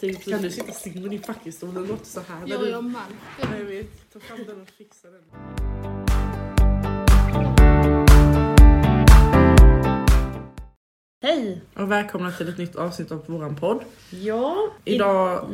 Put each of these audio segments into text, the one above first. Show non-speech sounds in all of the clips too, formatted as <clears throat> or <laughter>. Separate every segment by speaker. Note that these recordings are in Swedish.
Speaker 1: Typ
Speaker 2: Tänk kan du sitta still i fackhistorien? Den låter så här. när
Speaker 3: Jo,
Speaker 2: du-
Speaker 3: jag märker.
Speaker 2: Nej, jag vet. Ta fram den och fixa den.
Speaker 1: Hej!
Speaker 2: Och välkomna till ett nytt avsnitt av våran podd.
Speaker 1: Ja,
Speaker 2: Idag...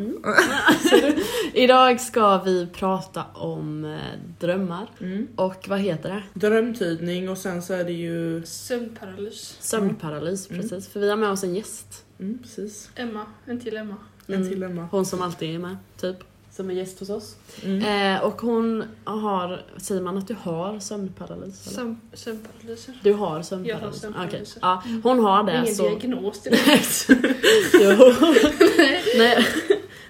Speaker 1: idag ska vi prata om eh, drömmar.
Speaker 2: Mm.
Speaker 1: Och vad heter det?
Speaker 2: Drömtydning och sen så är det ju...
Speaker 3: Sömnparalys.
Speaker 1: Sömnparalys,
Speaker 2: Mm.
Speaker 1: precis. För vi har med oss en gäst.
Speaker 2: Mm, precis.
Speaker 3: Emma. En till Emma.
Speaker 2: En
Speaker 1: Mm.
Speaker 2: till Emma.
Speaker 1: Hon som alltid är med, typ. Som är gäst hos oss.
Speaker 2: Mm.
Speaker 1: Eh, och hon har, säger man att du har sömnparalys? eller?
Speaker 3: Söm, sömnparalyser.
Speaker 1: Du har sömnparalys?
Speaker 3: Jag har sömnparalys.
Speaker 1: Okej. Ja, hon har det.
Speaker 3: Ingen
Speaker 1: så...
Speaker 3: diagnos till det.
Speaker 1: <laughs> Jo. <laughs> <laughs> Nej.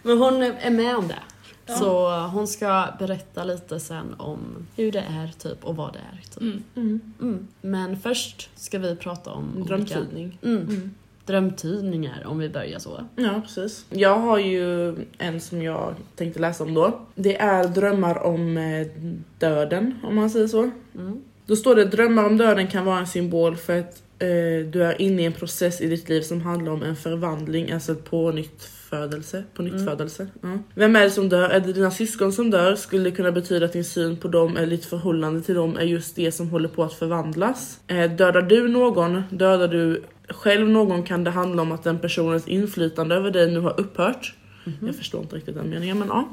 Speaker 1: Men hon är med om det.
Speaker 3: Ja.
Speaker 1: Så hon ska berätta lite sen om hur det är typ och vad det är. Typ.
Speaker 3: Mm.
Speaker 2: Mm.
Speaker 1: Mm. Men först ska vi prata om olika
Speaker 2: Drömtydning.
Speaker 1: mm.
Speaker 2: Mm.
Speaker 1: drömtidningar om vi börjar så.
Speaker 2: Ja, precis. Jag har ju en som jag tänkte läsa om då. Det är drömmar om eh, döden, om man säger så.
Speaker 1: Mm.
Speaker 2: Då står det drömmar om döden kan vara en symbol för att eh, du är inne i en process i ditt liv som handlar om en förvandling, alltså ett pånyttfödelse. På nytt
Speaker 1: Mm.
Speaker 2: födelse. Ja. Vem är det som dör? Är det dina syskon som dör? Skulle det kunna betyda att din syn på dem eller ditt förhållande till dem är just det som håller på att förvandlas? Eh, dödar du någon? Dödar du själv någon kan det handla om att den personens inflytande över dig nu har upphört. Jag förstår inte riktigt den meningen men ja.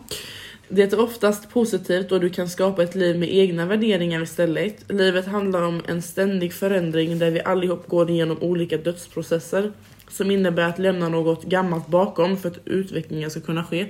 Speaker 2: Det är oftast positivt och du kan skapa ett liv med egna värderingar istället. Livet handlar om en ständig förändring där vi allihop går igenom olika dödsprocesser som innebär att lämna något gammalt bakom för att utvecklingen ska kunna ske.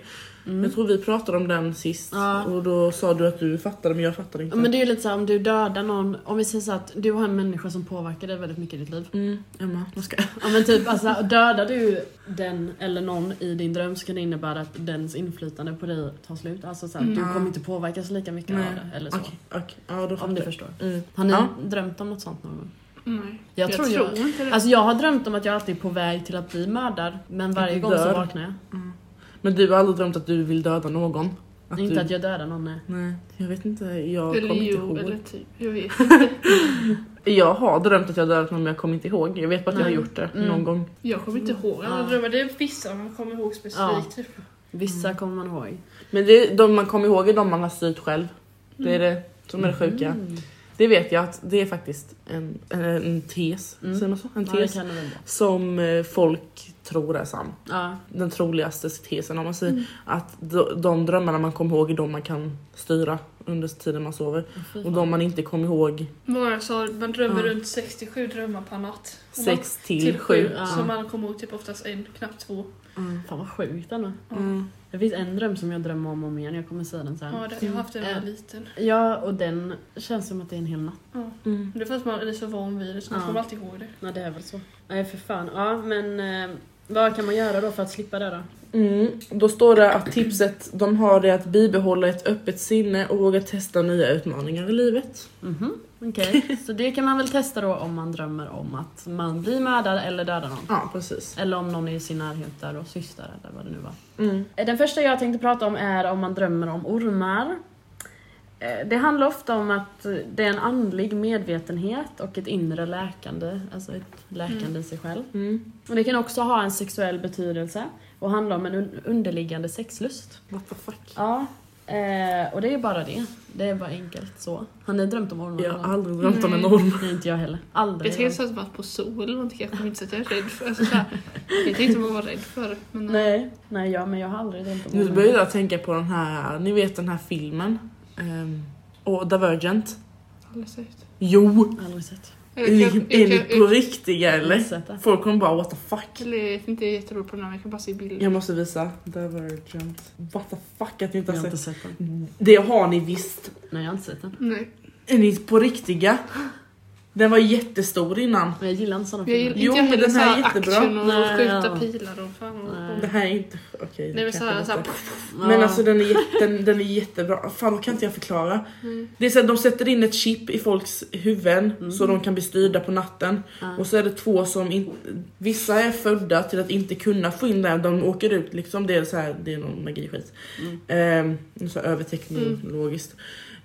Speaker 2: Jag tror vi pratade om den sist
Speaker 1: Mm. Ja.
Speaker 2: och då sa du att du fattade men jag fattade inte.
Speaker 1: Men det är ju lite såhär om du dödar någon, om vi säger så att du har en människa som påverkar dig väldigt mycket i ditt liv.
Speaker 2: Mm, Emma, vad ska
Speaker 1: Ja men typ alltså dödar du den eller någon i din dröm så kan det innebära att dens inflytande på dig tar slut. Alltså såhär,
Speaker 3: Mm.
Speaker 1: du
Speaker 2: Ja.
Speaker 1: kommer inte påverkas lika mycket
Speaker 2: Nej.
Speaker 1: av det eller så.
Speaker 2: Okej, okej. Ja, då
Speaker 1: Om
Speaker 2: fattar
Speaker 1: du
Speaker 2: jag.
Speaker 1: förstår.
Speaker 2: Mm.
Speaker 1: Har ni
Speaker 2: Ja.
Speaker 1: drömt om något sånt någon gång?
Speaker 3: Nej.
Speaker 1: Mm. Jag tror jag-
Speaker 3: inte det.
Speaker 1: Alltså jag har drömt om att jag alltid är på väg till att bli mördad men varje
Speaker 2: Du
Speaker 1: gång så
Speaker 2: dör.
Speaker 1: vaknar jag.
Speaker 2: Mm. Men du har aldrig drömt att du vill döda någon?
Speaker 1: inte
Speaker 2: du...
Speaker 1: att jag dödar någon nej.
Speaker 2: Nej, jag vet inte. Jag
Speaker 3: eller
Speaker 2: kommer inte
Speaker 3: jo,
Speaker 2: ihåg.
Speaker 3: eller typ. Jag vet.
Speaker 1: <laughs>
Speaker 2: Jag har drömt att jag dödat någon men jag kommer inte ihåg. Jag vet bara att jag
Speaker 1: Nej.
Speaker 2: har gjort det
Speaker 1: Mm.
Speaker 2: någon gång.
Speaker 3: Jag kommer inte ihåg alla
Speaker 1: Ja.
Speaker 3: drömmar. Det är vissa man kommer ihåg specifikt. Typ.
Speaker 1: Vissa kommer man ihåg.
Speaker 2: Men det, de man kommer ihåg är de man har styrt själv. Det är det som är det sjuka.
Speaker 1: Mm.
Speaker 2: Det vet jag att det är faktiskt en, en, en tes,
Speaker 1: Mm.
Speaker 2: säger man så? En
Speaker 1: Ja, det
Speaker 2: tes
Speaker 1: kan det väl vara.
Speaker 2: som eh, folk tror är sann.
Speaker 1: Ja.
Speaker 2: Den troligaste tesen om man säger
Speaker 1: Mm.
Speaker 3: Mm.
Speaker 2: att de, de drömmarna man kommer ihåg är de man kan styra under tiden man sover.
Speaker 1: fy
Speaker 2: Och
Speaker 1: fan.
Speaker 2: de man inte kommer ihåg
Speaker 3: Många sa att man drömmer
Speaker 2: Ja.
Speaker 3: runt 67 drömmar per natt. Och man- typ
Speaker 2: 6 till 7.
Speaker 1: ja.
Speaker 3: Så man kommer ihåg typ oftast en, knappt två.
Speaker 2: Mm.
Speaker 1: Fan vad sjukt ändå.
Speaker 2: Mm.
Speaker 1: Det finns en dröm som jag drömmer om och om igen, jag kommer säga den
Speaker 3: Ja,
Speaker 1: sen.
Speaker 3: det, jag har haft en när jag var
Speaker 1: Mm.
Speaker 3: liten.
Speaker 1: Ja och den känns som att det är en hel natt.
Speaker 3: Ja.
Speaker 2: Mm.
Speaker 3: Det är för att man är så van vid det så man
Speaker 1: Ja.
Speaker 3: kommer alltid ihåg det.
Speaker 1: Ja det är väl så. Nej för fan. Ja men eh, vad kan man göra då för att slippa det då?
Speaker 2: Mm, då står det att tipset de har är att bibehålla ett öppet sinne och våga testa nya utmaningar i livet.
Speaker 1: Mhm, okej. <laughs> Så det kan man väl testa då om man drömmer om att man blir mördad eller dödar någon.
Speaker 2: Ja, precis.
Speaker 1: Eller om någon är i sin närhet där och syster eller vad det nu var.
Speaker 2: Mm.
Speaker 1: Den första jag tänkte prata om är om man drömmer om ormar. Eh, Det handlar ofta om att eh, det är en andlig medvetenhet och ett inre läkande, alltså ett läkande i sig själv.
Speaker 2: Mm.
Speaker 1: Och det kan också ha en sexuell betydelse och handla om en un- underliggande sexlust.
Speaker 2: What the fuck?
Speaker 1: Ja, eh, och det är bara det. Det är bara enkelt så. Har ni drömt om ormar?
Speaker 2: Jag
Speaker 1: någon
Speaker 2: har
Speaker 1: gång?
Speaker 2: aldrig drömt om en
Speaker 3: Nej.
Speaker 2: orm.
Speaker 1: Nej, inte jag heller.
Speaker 3: Jag
Speaker 1: Aldrig.
Speaker 3: tänkte så att jag varit på sol eller någonting kanske, men inte så att jag är rädd för alltså, så här, Jag tänkte man var rädd för det. Men,
Speaker 1: Nej, nej jag, men jag har aldrig drömt om
Speaker 2: Nu börjar jag tänka på den här, ni vet den här filmen? Um, och Divergent.
Speaker 3: Aldrig sett.
Speaker 2: Jo!
Speaker 1: Aldrig sett.
Speaker 2: Är
Speaker 3: Eller,
Speaker 2: ni,
Speaker 3: jag, jag,
Speaker 2: är
Speaker 3: jag,
Speaker 2: ni på riktiga eller?
Speaker 1: Aldrig sett det.
Speaker 2: Folk kommer bara what the fuck.
Speaker 3: eller jag är inte jätterolig på namn, jag kan bara se bilder.
Speaker 2: Jag måste visa. Divergent. What the fuck att ni inte
Speaker 1: Jag
Speaker 2: har
Speaker 1: har inte
Speaker 2: sett.
Speaker 1: sett den.
Speaker 2: Det har ni visst.
Speaker 1: Nej, jag har inte sett den.
Speaker 3: Nej.
Speaker 2: Är ni på riktiga? Den var jättestor innan.
Speaker 1: Men jag gillar inte sådana
Speaker 3: Jag
Speaker 1: filmer.
Speaker 3: gillar
Speaker 2: Jo,
Speaker 3: inte
Speaker 2: men
Speaker 3: jag heller
Speaker 2: den
Speaker 3: så
Speaker 2: här är
Speaker 3: här
Speaker 2: jättebra.
Speaker 3: action och
Speaker 1: Nej,
Speaker 3: skjuta
Speaker 1: ja.
Speaker 3: pilar och fan och
Speaker 1: Nej.
Speaker 2: Det här är inte... Okej.
Speaker 3: Nej men
Speaker 2: kanske
Speaker 3: såhär,
Speaker 2: inte.
Speaker 3: såhär,
Speaker 2: Men alltså den är, jätte, den, den är jättebra. Fan vad kan inte jag förklara. Det är så att de sätter in ett chip i folks huvuden så de kan bli styrda på natten.
Speaker 1: Ja.
Speaker 2: Och så är det två som in, vissa är födda till att inte kunna få in det här. De åker ut liksom. Det är så här, det är någon magiskit. Ehm, så här överteknologiskt.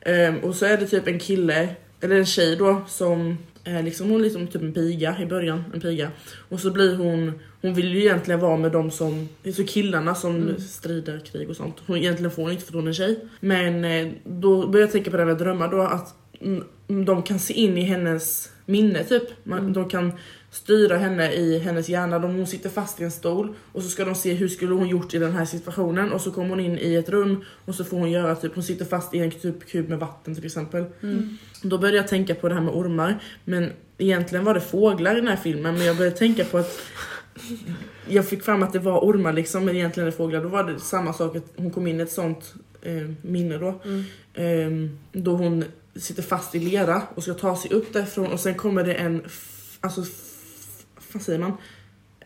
Speaker 2: Ehm, och så är det typ en kille, eller en tjej då som Eh, liksom, hon är liksom typ en piga i början, en piga. Och så blir hon, hon vill ju egentligen vara med de som, så killarna som
Speaker 1: Mm.
Speaker 2: strider krig och sånt. Hon egentligen får hon inte för hon är tjej. Men eh, då börjar jag tänka på det här med drömmar då att mm, de kan se in i hennes minne typ. Man,
Speaker 1: Mm.
Speaker 2: De kan styra henne i hennes hjärna. De, hon sitter fast i en stol och så ska de se hur skulle hon gjort i den här situationen och så kommer hon in i ett rum och så får hon göra typ, hon sitter fast i en typ kub med vatten till exempel.
Speaker 1: Mm.
Speaker 2: Då började jag tänka på det här med ormar, men egentligen var det fåglar i den här filmen men jag började tänka på att jag fick fram att det var ormar liksom men egentligen är det fåglar. Då var det samma sak att hon kom in i ett sånt eh, minne då.
Speaker 1: Mm.
Speaker 2: Ehm, då hon sitter fast i lera och ska ta sig upp därifrån och sen kommer det en, f- alltså, f- vad säger man?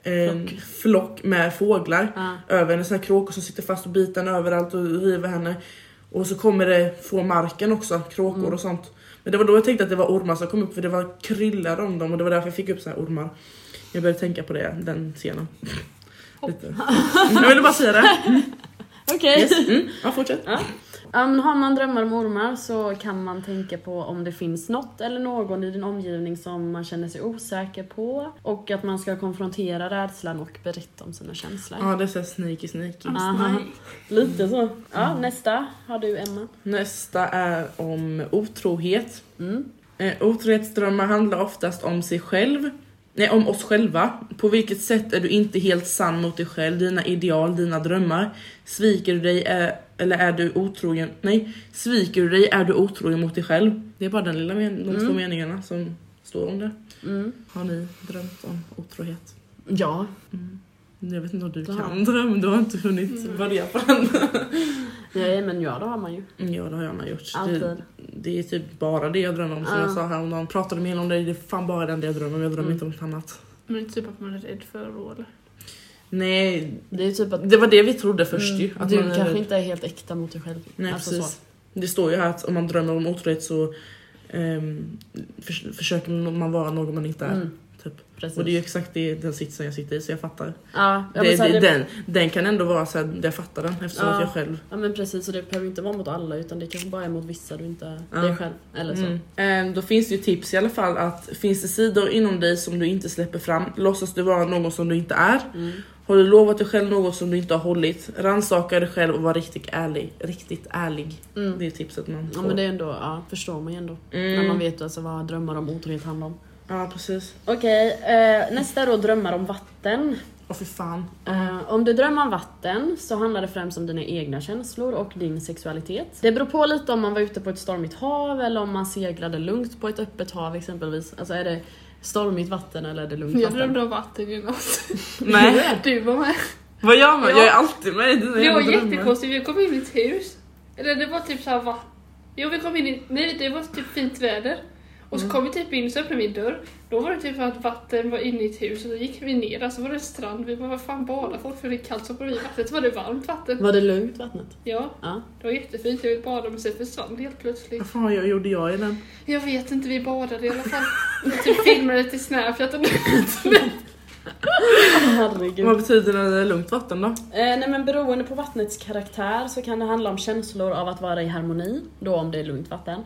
Speaker 2: En
Speaker 1: Flock.
Speaker 2: flock. med fåglar
Speaker 1: Ja.
Speaker 2: över henne, såna här kråkor som sitter fast och biter henne överallt och river henne. Och så kommer det få marken också, kråkor
Speaker 1: Mm.
Speaker 2: och sånt. Men det var då jag tänkte att det var ormar som kom upp för det var kryllar om dem och det var därför jag fick upp så här ormar. Jag började tänka på det, den scenen.
Speaker 3: Hopp.
Speaker 2: Lite. Jag ville bara säga det.
Speaker 1: Okej. <laughs>
Speaker 2: Yes. Mm. Ja, fortsätt.
Speaker 1: Ja, men har man drömmar om ormar så kan man tänka på om det finns något eller någon i din omgivning som man känner sig osäker på och att man ska konfrontera rädslan och berätta om sina känslor.
Speaker 2: Ja, det är så här sneaky sneaky.
Speaker 1: Aha. Lite så. Ja,
Speaker 2: Mm.
Speaker 1: nästa har du Emma.
Speaker 2: Nästa är om otrohet.
Speaker 1: Mm.
Speaker 2: Eh, otrohetsdrömmar handlar oftast om sig själv. Nej, om oss själva. På vilket sätt är du inte helt sann mot dig själv, dina ideal, dina drömmar? Sviker du dig eh, eller är du otrogen? Nej, sviker du dig är du otrogen mot dig själv. Det är bara den lilla men- de två
Speaker 1: Mm.
Speaker 2: meningarna som står om det.
Speaker 1: Mm.
Speaker 2: Har ni drömt om otrohet?
Speaker 1: Ja.
Speaker 2: Mm. Jag vet inte om du
Speaker 1: Det har
Speaker 2: kan dröm, du har inte hunnit
Speaker 3: Nej.
Speaker 2: börja på den.
Speaker 1: Nej men ja, det har man ju.
Speaker 2: Mm, Ja, det har jag med gjort. Det,
Speaker 1: Alltid.
Speaker 2: det är typ bara det jag drömmer om som
Speaker 1: Ja.
Speaker 2: jag sa häromdagen. Pratade med henne om det, det är fan bara den det jag drömmer om. Jag drömmer
Speaker 1: Mm.
Speaker 2: inte om något annat.
Speaker 3: Men det är typ att man är rädd för roller.
Speaker 2: Nej,
Speaker 1: Det är ju typ att
Speaker 2: det var det vi trodde först
Speaker 1: Mm.
Speaker 2: ju. Att
Speaker 1: du
Speaker 2: man är
Speaker 1: kanske
Speaker 2: rädd.
Speaker 1: inte är helt äkta mot dig själv.
Speaker 2: Nej,
Speaker 1: Alltså
Speaker 2: precis.
Speaker 1: så.
Speaker 2: Det står ju här att om man drömmer om otrohet så ehm, förs- försöker man vara någon man inte är.
Speaker 1: Mm.
Speaker 2: Typ.
Speaker 1: Precis.
Speaker 2: Och det är ju exakt det, den sitsen jag sitter i så jag fattar.
Speaker 1: ja, ja,
Speaker 2: det,
Speaker 1: men så här,
Speaker 2: det,
Speaker 1: det,
Speaker 2: den, den kan ändå vara så här, jag fattar den eftersom
Speaker 1: Ja.
Speaker 2: att jag själv...
Speaker 1: ja men precis, så det behöver ju inte vara mot alla utan det kanske bara är mot vissa du inte är
Speaker 2: Ja.
Speaker 1: dig själv. Eller så.
Speaker 2: Mm. Ehm, Då finns det ju tips i alla fall att finns det sidor inom dig som du inte släpper fram, låtsas du vara någon som du inte är.
Speaker 1: Mm.
Speaker 2: Har du lovat dig själv något som du inte har hållit? Rannsaka dig själv och var riktigt ärlig. Riktigt ärlig.
Speaker 1: Mm.
Speaker 2: Det är tipset man
Speaker 1: Ja
Speaker 2: får.
Speaker 1: men det är ändå, ja, förstår man ju ändå.
Speaker 2: Mm.
Speaker 1: När man vet alltså vad drömmar om otrohet handlar om.
Speaker 2: Ja precis.
Speaker 1: Okej, eh, nästa är då drömmar om vatten.
Speaker 2: Åh för fan.
Speaker 1: Eh, om du drömmer om vatten så handlar det främst om dina egna känslor och din sexualitet. Det beror på lite om man var ute på ett stormigt hav eller om man seglade lugnt på ett öppet hav exempelvis. Alltså är det stormigt vatten eller är det lugnt
Speaker 3: Jag
Speaker 1: vatten?
Speaker 3: drömde om vatten i natt.
Speaker 2: <laughs> Nej,
Speaker 3: <laughs> Du var med.
Speaker 2: vad gör man?
Speaker 3: Ja.
Speaker 2: Jag är alltid med i dina
Speaker 3: Det var
Speaker 2: jävla drömmar.
Speaker 3: jättekonstigt, vi kom in i ett hus. Eller det var typ såhär va? Jo vi kom in i, nej det var typ fint väder. Och så kom vi typ in, så öppnade vi en dörr. Då var det typ att vatten var inne i ett hus och så gick vi ner där så var det en strand. Vi bara vad fan badar folk för det är kallt så på vi i vattnet. Så var det varmt vatten.
Speaker 1: Var det lugnt vattnet?
Speaker 3: Ja,
Speaker 1: Ja.
Speaker 3: det var jättefint. Jag ville bada men sen försvann det helt plötsligt.
Speaker 2: Vad fan jag gjorde jag i den?
Speaker 3: Jag vet inte, vi badade i alla fall. <laughs> Jag typ filmade till Snapchat och
Speaker 1: Herregud.
Speaker 2: Vad betyder det när det är lugnt vatten då?
Speaker 1: Eh, nej men beroende på vattnets karaktär så kan det handla om känslor av att vara i harmoni, då om det är lugnt vatten.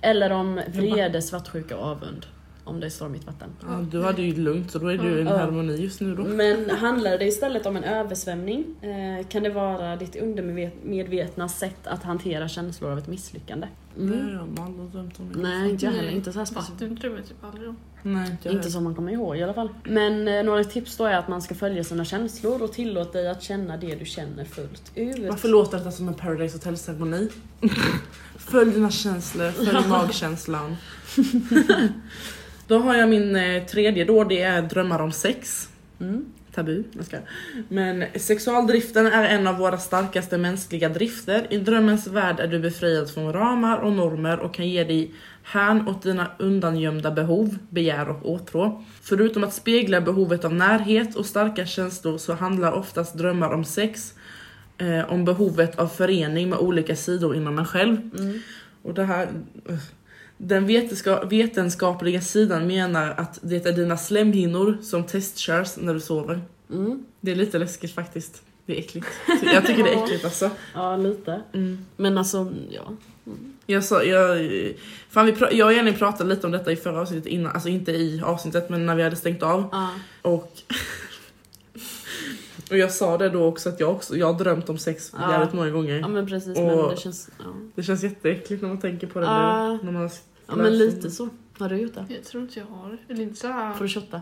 Speaker 1: Eller om vrede, svartsjuka och avund, om det är stormigt vatten.
Speaker 2: Ja, Mm. du hade ju lugnt så då är du i en
Speaker 1: Ja.
Speaker 2: harmoni just nu då.
Speaker 1: Men handlar det istället om en översvämning eh, kan det vara ditt undermedvetna sätt att hantera känslor av ett misslyckande. Mm.
Speaker 2: Det har jag aldrig drömt om.
Speaker 1: Nej, inte jag heller.
Speaker 3: Nej.
Speaker 1: Inte så här specifikt.
Speaker 3: Vatten drömmer jag typ aldrig om.
Speaker 2: Nej, inte jag
Speaker 1: Inte som man kommer ihåg i alla fall. Men eh, några tips då är att man ska följa sina känslor och tillåt dig att känna det du känner fullt ut.
Speaker 2: Varför låter detta som en Paradise Hotel-ceremoni? följ dina känslor, följ magkänslan. då har jag min eh, tredje då, det är drömmar om sex.
Speaker 1: Mm.
Speaker 2: Tabu, jag ska. Men sexualdriften är en av våra starkaste mänskliga drifter. I drömmens värld är du befriad från ramar och normer och kan ge dig hän åt dina undangömda behov, begär och åtrå. Förutom att spegla behovet av närhet och starka känslor så handlar oftast drömmar om sex eh, om behovet av förening med olika sidor inom en själv.
Speaker 1: Mm.
Speaker 2: Och det här... eh, Den vetenska- vetenskapliga sidan menar att det är dina slemhinnor som testkörs när du sover.
Speaker 1: Mm.
Speaker 2: Det är lite läskigt faktiskt. Det är äckligt. Jag tycker det är äckligt alltså.
Speaker 1: Ja, lite.
Speaker 2: Mm.
Speaker 1: Men alltså, ja.
Speaker 2: Jag sa, jag, fan vi pra- jag och Jenny pratade lite om detta i förra avsnittet innan, alltså inte i avsnittet men när vi hade stängt av.
Speaker 1: Ja.
Speaker 2: Och, <laughs> och jag sa det då också att jag, också, jag har drömt om sex
Speaker 1: Ja.
Speaker 2: jävligt många gånger.
Speaker 1: ja men precis,
Speaker 2: Och-
Speaker 1: men det känns... Ja,
Speaker 2: Det känns jätteäckligt när man tänker på det
Speaker 1: Ja.
Speaker 2: nu. När man har
Speaker 1: ja men lite så. Har du gjort det?
Speaker 3: Jag tror inte jag har det. Eller inte
Speaker 1: Får
Speaker 3: såhär...
Speaker 1: du shotta?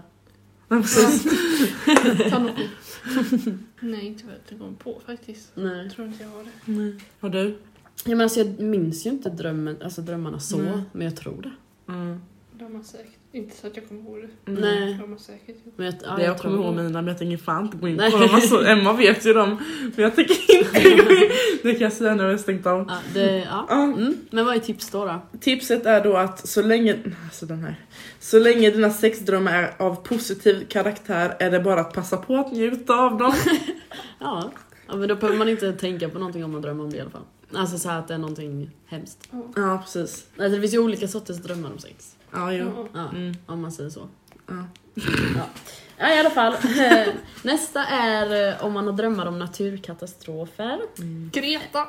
Speaker 2: Nej, precis.
Speaker 3: Ta något. <laughs> Nej, inte vad jag kom på faktiskt.
Speaker 1: Nej.
Speaker 3: Jag tror inte jag har det.
Speaker 2: Nej. Har du?
Speaker 1: Ja, men alltså, jag minns ju inte drömmen, alltså, drömmarna så,
Speaker 2: Nej.
Speaker 1: men jag tror det.
Speaker 2: Mm.
Speaker 3: Det har man säkert. Inte så att jag kommer ihåg det.
Speaker 1: Nej.
Speaker 3: Det har man säkert gjort.
Speaker 1: Men jag, ja,
Speaker 2: det jag kommer
Speaker 1: tror
Speaker 2: ihåg
Speaker 1: det.
Speaker 2: mina men jag tänker fan inte gå in på
Speaker 1: Nej.
Speaker 2: dem. Alltså, Emma vet ju dem. Men jag tänker inte gå in. Det kan jag säga när vi har stängt av.
Speaker 1: Ja, det, ja.
Speaker 2: Ja.
Speaker 1: Mm. Men vad är tips då? då?
Speaker 2: Tipset är då att så länge, alltså den här, så länge dina sexdrömmar är av positiv karaktär är det bara att passa på att njuta av dem.
Speaker 1: Ja. ja, men då behöver man inte tänka på någonting om man drömmer om det i alla fall. Alltså så här att det är någonting hemskt.
Speaker 3: Ja.
Speaker 2: Ja precis.
Speaker 1: Alltså, det finns ju olika sorters drömmar om sex.
Speaker 2: Ja, jo.
Speaker 3: Ja.
Speaker 1: Ja,
Speaker 2: Mm,
Speaker 1: om man säger så.
Speaker 2: ja.
Speaker 1: Ja, i alla fall. <laughs> Eh, Nästa är eh, om man har drömmar om naturkatastrofer.
Speaker 2: Mm.
Speaker 3: Greta!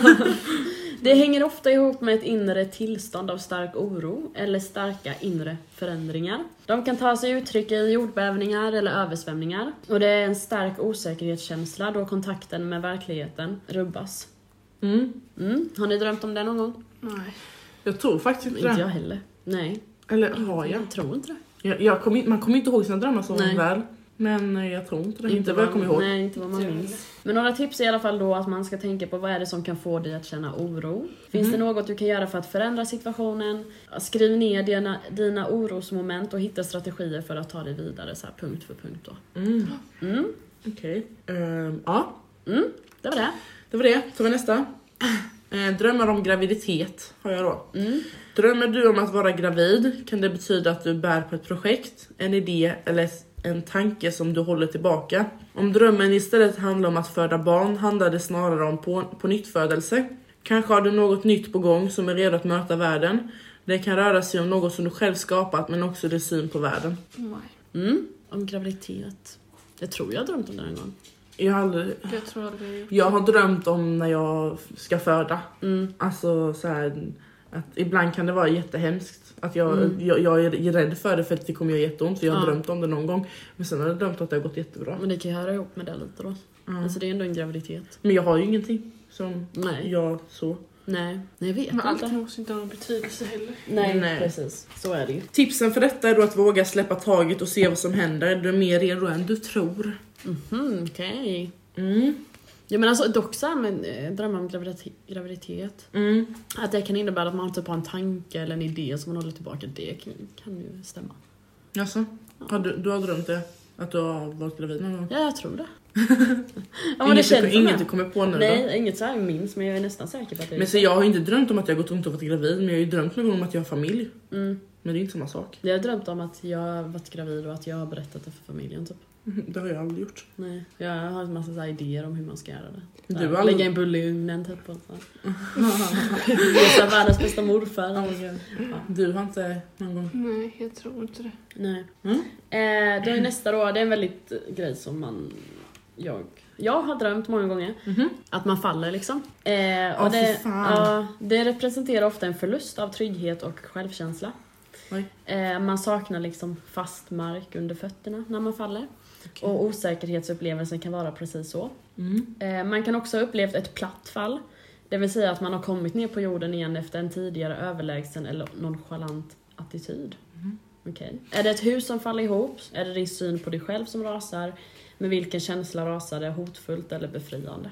Speaker 1: <laughs> Det hänger ofta ihop med ett inre tillstånd av stark oro eller starka inre förändringar. De kan ta sig uttryck i jordbävningar eller översvämningar. Och det är en stark osäkerhetskänsla då kontakten med verkligheten rubbas.
Speaker 2: Mm.
Speaker 1: Mm. Har ni drömt om det någon gång?
Speaker 3: Nej.
Speaker 2: Jag tror faktiskt
Speaker 1: Inte
Speaker 2: inte
Speaker 1: jag
Speaker 2: Typ det.
Speaker 1: heller. Nej,
Speaker 2: Eller har jag?
Speaker 1: jag tror inte det.
Speaker 2: jag, jag kommer in, man kommer inte ihåg sina drömmar så
Speaker 1: Nej.
Speaker 2: väl. Men eh, jag tror inte det. Inte vad jag kommer ihåg.
Speaker 1: Nej, inte vad man
Speaker 3: Inte jag
Speaker 1: minns. Men några tips är i alla fall då att man ska tänka på vad är det som kan få dig att känna oro? Finns det något du kan göra för att förändra situationen? Skriv ner dina, dina orosmoment och hitta strategier för att ta dig vidare så här punkt för punkt då.
Speaker 2: Mm.
Speaker 1: Mm,
Speaker 2: Okej. Ehm, ja,
Speaker 1: mm, det var det.
Speaker 2: det var det. Tar vi nästa. <clears throat> Eh, drömmar om graviditet har jag då.
Speaker 1: Mm.
Speaker 2: Drömmer du om att vara gravid kan det betyda att du bär på ett projekt, en idé eller en tanke som du håller tillbaka. Om drömmen istället handlar om att föda barn handlar det snarare om på, på födelse. Kanske har du något nytt på gång som är redo att möta världen. Det kan röra sig om något som du själv skapat men också din syn på världen.
Speaker 3: Nej.
Speaker 1: Mm, om graviditet. Jag tror jag har drömt om det en gång.
Speaker 2: Jag har, aldrig,
Speaker 3: Jag tror aldrig jag gjort.
Speaker 2: jag har drömt om när jag ska föda.
Speaker 1: Mm.
Speaker 2: Alltså så här, att ibland kan det vara jättehemskt. Att jag,
Speaker 1: Mm.
Speaker 2: jag, jag är rädd för det för att det kommer göra jätteont för jag har
Speaker 1: Ja.
Speaker 2: drömt om det någon gång. Men sen har jag drömt att det har gått jättebra.
Speaker 1: Men det kan ju höra ihop med det lite då.
Speaker 2: Mm.
Speaker 1: Alltså det är ändå en graviditet.
Speaker 2: Men jag har ju ingenting som
Speaker 1: Nej,
Speaker 2: jag så.
Speaker 1: nej, nej jag vet
Speaker 3: Men allt
Speaker 1: inte.
Speaker 3: måste inte ha någon betydelse heller.
Speaker 1: Nej,
Speaker 2: Nej.
Speaker 1: precis. Så är det ju.
Speaker 2: Tipsen för detta är då att våga släppa taget och se vad som händer. Du är mer redo än du tror.
Speaker 1: Mhm, okej.
Speaker 2: Mm.
Speaker 1: Ja men alltså dock såhär med eh, drömmar om gravidite- graviditet.
Speaker 2: Mm.
Speaker 1: Att det kan innebära att man typ har en tanke eller en idé som man håller tillbaka. Det kan, kan ju stämma.
Speaker 2: Alltså, har du, du har drömt det? Att du har varit gravid någon gång?
Speaker 1: Ja jag
Speaker 2: <laughs>
Speaker 1: tror det. ja men det
Speaker 2: inget du-
Speaker 1: känns som
Speaker 2: inget du
Speaker 1: det.
Speaker 2: kommer på nu då?
Speaker 1: Nej inget såhär jag minns men jag är nästan säker på att det är
Speaker 2: Men så jag har ju inte drömt om att jag har gått runt och varit gravid men jag har ju drömt någon gång om att jag har familj.
Speaker 1: mm.
Speaker 2: Men det är inte samma sak.
Speaker 1: Jag har drömt om att jag har varit gravid och att jag har berättat det för familjen typ.
Speaker 2: <laughs> Det har jag aldrig gjort.
Speaker 1: Nej. Jag har en massa så här idéer om hur man ska göra det.
Speaker 2: Du
Speaker 1: Såhär,
Speaker 2: har aldrig-
Speaker 1: Lägga en bulle i ugnen typ. och så här. Visa världens bästa morfar.
Speaker 2: Du har inte någon gång...
Speaker 3: Nej, jag tror inte det.
Speaker 1: Nej.
Speaker 2: Mm.
Speaker 1: Eh, då är nästa då, det är en väldigt eh, grej som man... Jag, jag har drömt många gånger. Att man faller liksom. Eh, och
Speaker 2: Åh,
Speaker 1: det,
Speaker 2: fy fan.
Speaker 1: ja, det representerar ofta en förlust av trygghet och självkänsla.
Speaker 2: Oj.
Speaker 1: Eh, man saknar liksom fast mark under fötterna när man faller. Och osäkerhetsupplevelsen kan vara precis så.
Speaker 2: Mm.
Speaker 1: Eh, Man kan också ha upplevt ett platt fall, det vill säga att man har kommit ner på jorden igen efter en tidigare överlägsen eller nonchalant attityd.
Speaker 2: Mhm.
Speaker 1: Okej. Är det ett hus som faller ihop? Är det din syn på dig själv som rasar? Med vilken känsla rasar det? Hotfullt eller befriande?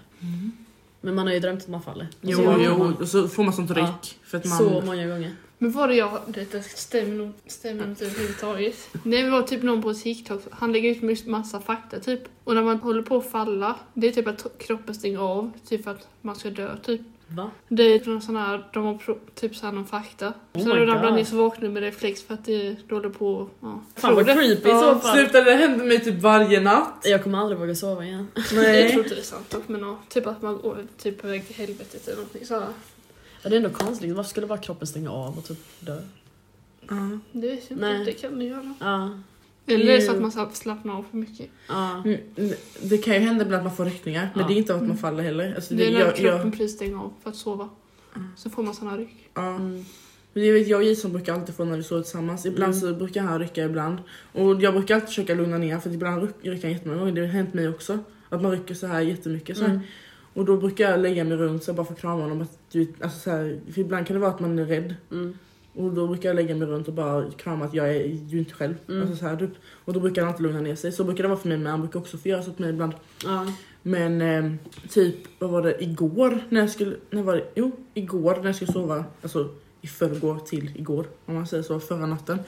Speaker 1: Men man har ju drömt att man faller. Alltså, Och
Speaker 2: Jo,
Speaker 1: så gör
Speaker 2: jo,
Speaker 1: man
Speaker 2: och så får man sånt ryck.
Speaker 1: Mm. Ja.
Speaker 2: För att man...
Speaker 1: Så många gånger.
Speaker 3: Men var det jag... Detta stämmer nog stämmer nog inte överhuvudtaget. Nej, det var typ någon på TikTok. Han lägger ut mus- massa fakta typ. Och när man håller på att falla, det är typ att kroppen stänger av. Typ för att man ska dö typ.
Speaker 1: Va?
Speaker 3: Det är någon sån här, de har pro- typ såhär någon fakta.
Speaker 1: Oh
Speaker 3: så
Speaker 1: my
Speaker 3: när du ramlar
Speaker 1: God.
Speaker 3: ner så vaknar du med reflex för att det du håller på ja.
Speaker 1: Fan vad
Speaker 3: Tror det.
Speaker 1: creepy i
Speaker 3: Ja,
Speaker 1: så fall.
Speaker 2: Sluta, det händer mig typ varje natt.
Speaker 1: Jag kommer aldrig våga sova igen.
Speaker 3: Jag
Speaker 1: <laughs>
Speaker 3: tror inte det är sant dock men ja, typ att man går typ på väg till helvetet eller någonting sådär.
Speaker 1: Ja, Det är ändå konstigt, varför skulle bara kroppen stänga av och typ dö?
Speaker 2: Ja.
Speaker 3: Det vet jag inte,
Speaker 1: Nej.
Speaker 3: det kan du göra.
Speaker 1: Ja.
Speaker 3: Eller är det så
Speaker 2: Jo.
Speaker 3: att man slapp- slappnar av för mycket.
Speaker 1: Ja.
Speaker 2: Mm, Det kan ju hända ibland att man får ryckningar, men
Speaker 1: Ja.
Speaker 2: det är inte av att man faller heller. Alltså,
Speaker 3: Det är när
Speaker 2: jag,
Speaker 3: kroppen
Speaker 2: jag,
Speaker 3: precis stänger av för att sova. Så får man såna ryck.
Speaker 2: ja.
Speaker 1: Mm.
Speaker 2: Men jag, vet, jag och Jason brukar alltid få när vi sover tillsammans. Ibland
Speaker 1: Mm.
Speaker 2: så brukar han rycka ibland. Och jag brukar alltid försöka lugna ner för att ibland ryck- rycker han jättemånga gånger. Det har hänt mig också. Att man rycker så här jättemycket. Så här.
Speaker 1: Mm.
Speaker 2: Och då brukar jag lägga mig runt så här, bara för att krama honom. Att, du, vet, alltså, så här, för ibland kan det vara att man är rädd.
Speaker 1: Mm.
Speaker 2: Och då brukar jag lägga mig runt och bara krama att jag är ju inte själv.
Speaker 1: Mm.
Speaker 2: Alltså, så här, typ. Och då brukar han alltid lugna ner sig. Så brukar det vara för mig men han brukar också få göra så åt mig ibland.
Speaker 1: Ja.
Speaker 2: Men eh, typ, vad var det, igår när jag skulle, när var det? Jo, igår när jag skulle sova, alltså i förrgår till igår om man säger så, förra natten.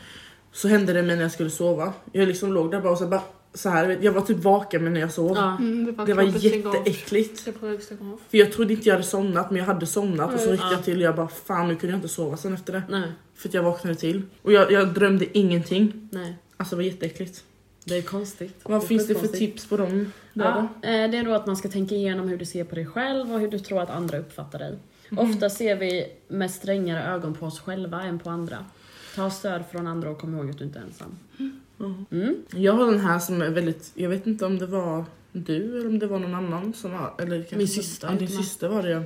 Speaker 2: Så hände det mig när jag skulle sova. Jag liksom låg där bara och så, bara, så här, vet, jag var typ vaken men när jag sov.
Speaker 1: Ja.
Speaker 3: Mm, det var,
Speaker 2: Det var
Speaker 3: jätteäckligt.
Speaker 2: jätteäckligt.
Speaker 3: Kroppen stänger av.
Speaker 2: För jag trodde inte jag hade somnat men jag hade somnat och så
Speaker 1: Mm,
Speaker 3: Ja.
Speaker 2: ryckte jag till och jag bara fan nu kunde jag inte sova sen efter det.
Speaker 1: Nej.
Speaker 2: För att jag vaknade till. Och jag, jag drömde ingenting.
Speaker 1: Nej.
Speaker 2: Alltså det var jätteäckligt.
Speaker 1: Det är konstigt.
Speaker 2: Vad
Speaker 1: är
Speaker 2: finns det
Speaker 1: sjukt
Speaker 2: för
Speaker 1: konstigt.
Speaker 2: tips på dem? Där
Speaker 1: Ja,
Speaker 2: då?
Speaker 1: eh, det är då att man ska tänka igenom hur du ser på dig själv och hur du tror att andra uppfattar dig. Ofta ser vi med strängare ögon på oss själva än på andra. Ta stöd från andra och kom ihåg att du inte är ensam.
Speaker 2: Mhm.
Speaker 1: Mm.
Speaker 2: Jag har den här som är väldigt, jag vet inte om det var du eller om det var någon annan som har, eller kanske
Speaker 1: Min syster.
Speaker 2: Ja, din syster var det ja.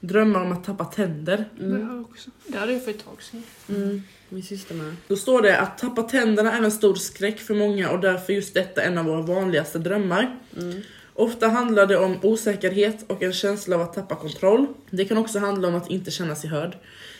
Speaker 2: Drömmar om att tappa tänder.
Speaker 3: Det
Speaker 1: Mm.
Speaker 3: har jag också. Det hade jag för ett tag sedan.
Speaker 1: Mm. Min syster med.
Speaker 2: Då står det att tappa tänderna är en stor skräck för många och därför just detta är en av våra vanligaste drömmar.
Speaker 1: Mm.
Speaker 2: Ofta handlar det om osäkerhet och en känsla av att tappa kontroll. Det kan också handla om att inte känna sig hörd.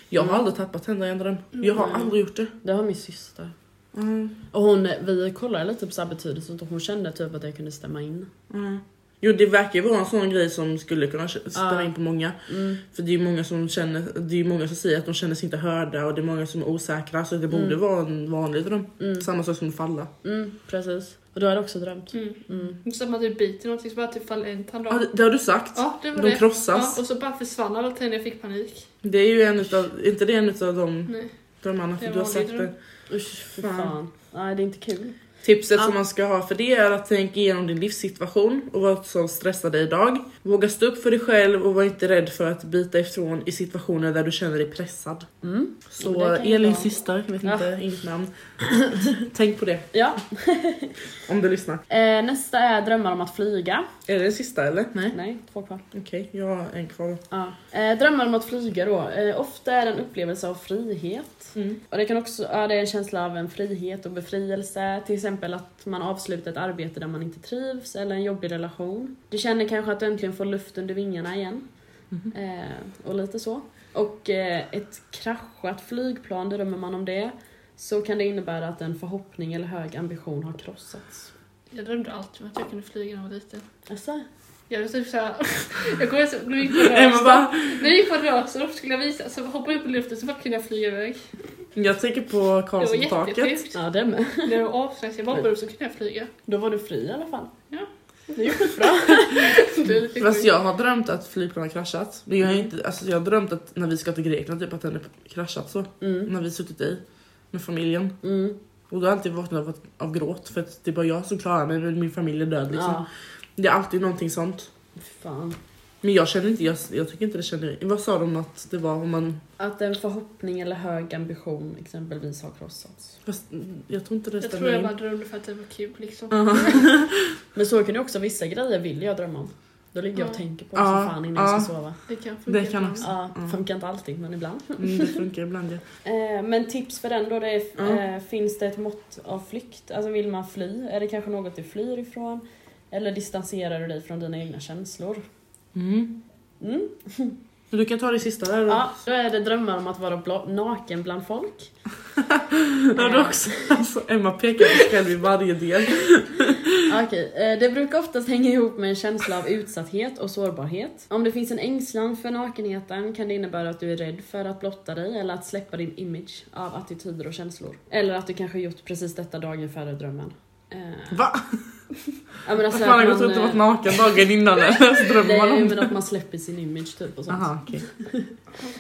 Speaker 2: Jag har aldrig tappat tänder i en dröm. Jag har
Speaker 1: Mm.
Speaker 2: aldrig gjort det.
Speaker 1: Det har min syster.
Speaker 2: Mm.
Speaker 1: Och hon, vi kollade lite på så här betydelsen och hon kände typ att jag kunde stämma in.
Speaker 2: Mm. Jo det verkar ju vara en sån grej som skulle kunna stämma
Speaker 1: Ja.
Speaker 2: in på många.
Speaker 1: Mm.
Speaker 2: För det är ju många som känner, det är ju många som säger att de känner sig inte hörda och det är många som är osäkra så det borde
Speaker 1: Mm.
Speaker 2: vara en vanlig dröm.
Speaker 1: Mm.
Speaker 2: Samma sak som att falla.
Speaker 1: Mm. Precis. Och du hade också drömt.
Speaker 3: Mm.
Speaker 1: Mm.
Speaker 3: Så att man typ biter någonting så bara typ faller en tand
Speaker 2: Ja,
Speaker 3: av.
Speaker 2: det, det har du sagt.
Speaker 3: Ja, det var
Speaker 2: de
Speaker 3: det. Ja,
Speaker 2: krossas.
Speaker 3: och så bara försvann alla tänder, jag fick panik.
Speaker 2: Det är ju en utav, inte det en utav de
Speaker 3: Nej.
Speaker 2: drömmarna för
Speaker 3: Det
Speaker 2: du har
Speaker 3: var
Speaker 2: sagt
Speaker 3: vanlig
Speaker 2: det.
Speaker 1: Usch, fy
Speaker 2: Fan.
Speaker 1: fan. Nej, det är inte kul.
Speaker 2: Tipset
Speaker 1: Ja.
Speaker 2: som man ska ha för det är att tänka igenom din livssituation och vad som stressar dig idag. Våga stå upp för dig själv och var inte rädd för att bita ifrån i situationer där du känner dig pressad.
Speaker 1: Mm.
Speaker 2: Så
Speaker 1: Det kan ju
Speaker 2: Elins
Speaker 1: vara-
Speaker 2: syster, jag vet
Speaker 1: Ja.
Speaker 2: inte, inget namn. <laughs> Tänk på det
Speaker 1: Ja.
Speaker 2: om du lyssnar.
Speaker 1: Eh, nästa är drömmar om att flyga.
Speaker 2: Är det den sista eller? Nej.
Speaker 1: Nej, två kvar.
Speaker 2: Okej, jag har en kvar.
Speaker 1: Ja. Eh, drömmar om att flyga då. Eh, ofta är det en upplevelse av frihet.
Speaker 2: Mm.
Speaker 1: Och det kan också, ja, det är en känsla av en frihet och befrielse. Till exempel att man avslutar ett arbete där man inte trivs eller en jobbig relation. Du känner kanske att du äntligen får luft under vingarna igen.
Speaker 2: Mhm.
Speaker 1: Eh, och lite så. Och eh, ett kraschat flygplan, drömmer man om det, så kan det innebära att en förhoppning eller hög ambition har krossats.
Speaker 3: Jag drömde alltid om att jag kunde flyga när jag var liten.
Speaker 1: Alltså,
Speaker 3: Jag var typ såhär... <laughs> jag kommer ihåg när vi gick
Speaker 2: <laughs> <laughs>
Speaker 3: på
Speaker 2: Emma
Speaker 3: Röstorp.
Speaker 2: bara,
Speaker 3: När vi gick på Röstorp skulle jag visa, så hoppade jag upp i luften så bara kunde jag flyga iväg.
Speaker 2: jag tänker på
Speaker 3: Det var
Speaker 2: Karlsson på taket.
Speaker 3: jättesjukt.
Speaker 1: ja det med.
Speaker 3: När jag var asnice, jag hoppade upp så kunde jag flyga. <laughs>
Speaker 1: Då var du fri i alla fall.
Speaker 3: Ja.
Speaker 1: Det är ju skitbra.
Speaker 3: Det är lite
Speaker 2: Mm. Fast
Speaker 3: sjukt.
Speaker 2: jag har drömt att flygplan har kraschat. Men jag, har inte, alltså jag har drömt att när vi ska till Grekland typ att den är kraschat så.
Speaker 1: Mm.
Speaker 2: När vi suttit i med familjen.
Speaker 1: Mm.
Speaker 2: Och då har jag alltid vaknat av, av gråt för att det är bara jag som klarar mig men min familj är död liksom.
Speaker 1: Ja,
Speaker 2: Det är alltid någonting sånt.
Speaker 1: fan.
Speaker 2: Men jag känner inte, jag, jag tycker inte det känner... Vad sa de att det var om man...
Speaker 1: Att en förhoppning eller hög ambition exempelvis har krossats.
Speaker 2: Fast jag tror inte det
Speaker 3: Jag
Speaker 2: stämmer
Speaker 3: tror jag
Speaker 2: in.
Speaker 3: bara drömde för att det var kul liksom.
Speaker 2: Aha.
Speaker 1: Men så kan det också, vissa grejer vill jag drömma om. Då ligger jag och
Speaker 3: Ja.
Speaker 1: tänker på det som
Speaker 2: Ja,
Speaker 1: fan innan jag ska sova.
Speaker 3: Det kan funka.
Speaker 2: Det kan
Speaker 3: ibland.
Speaker 2: också.
Speaker 1: Ja,
Speaker 2: Mm.
Speaker 1: funkar inte alltid men ibland.
Speaker 2: Mm, det funkar ibland ja.
Speaker 1: Eh, men tips för den då, det är,
Speaker 2: Ja.
Speaker 1: eh, finns det ett mått av flykt? Alltså vill man fly? Är det kanske något du flyr ifrån? Eller distanserar du dig från dina egna känslor?
Speaker 2: Mm.
Speaker 1: Mm.
Speaker 2: Men Du kan ta det sista där då.
Speaker 1: Ja,
Speaker 2: <laughs>
Speaker 1: då är det drömmar om att vara bla- naken bland folk.
Speaker 2: Ja, det också. Alltså, Emma pekar på sig själv i varje del.
Speaker 1: Okej, eh, det brukar oftast hänga ihop med en känsla av utsatthet och sårbarhet. Om det finns en ängslan för nakenheten kan det innebära att du är rädd för att blotta dig eller att släppa din image av attityder och känslor. Eller att du kanske gjort precis detta dagen före drömmen. Eh,
Speaker 2: Va?
Speaker 1: ja, men
Speaker 2: Vad
Speaker 1: alltså
Speaker 2: fan, har
Speaker 1: att
Speaker 2: jag gått
Speaker 1: man,
Speaker 2: runt och varit
Speaker 1: eh,
Speaker 2: naken dagen
Speaker 1: <laughs>
Speaker 2: innan eller så drömmer man
Speaker 1: nej,
Speaker 2: om
Speaker 1: men
Speaker 2: det?
Speaker 1: att man släpper sin image typ och sånt.
Speaker 2: Aha, okej.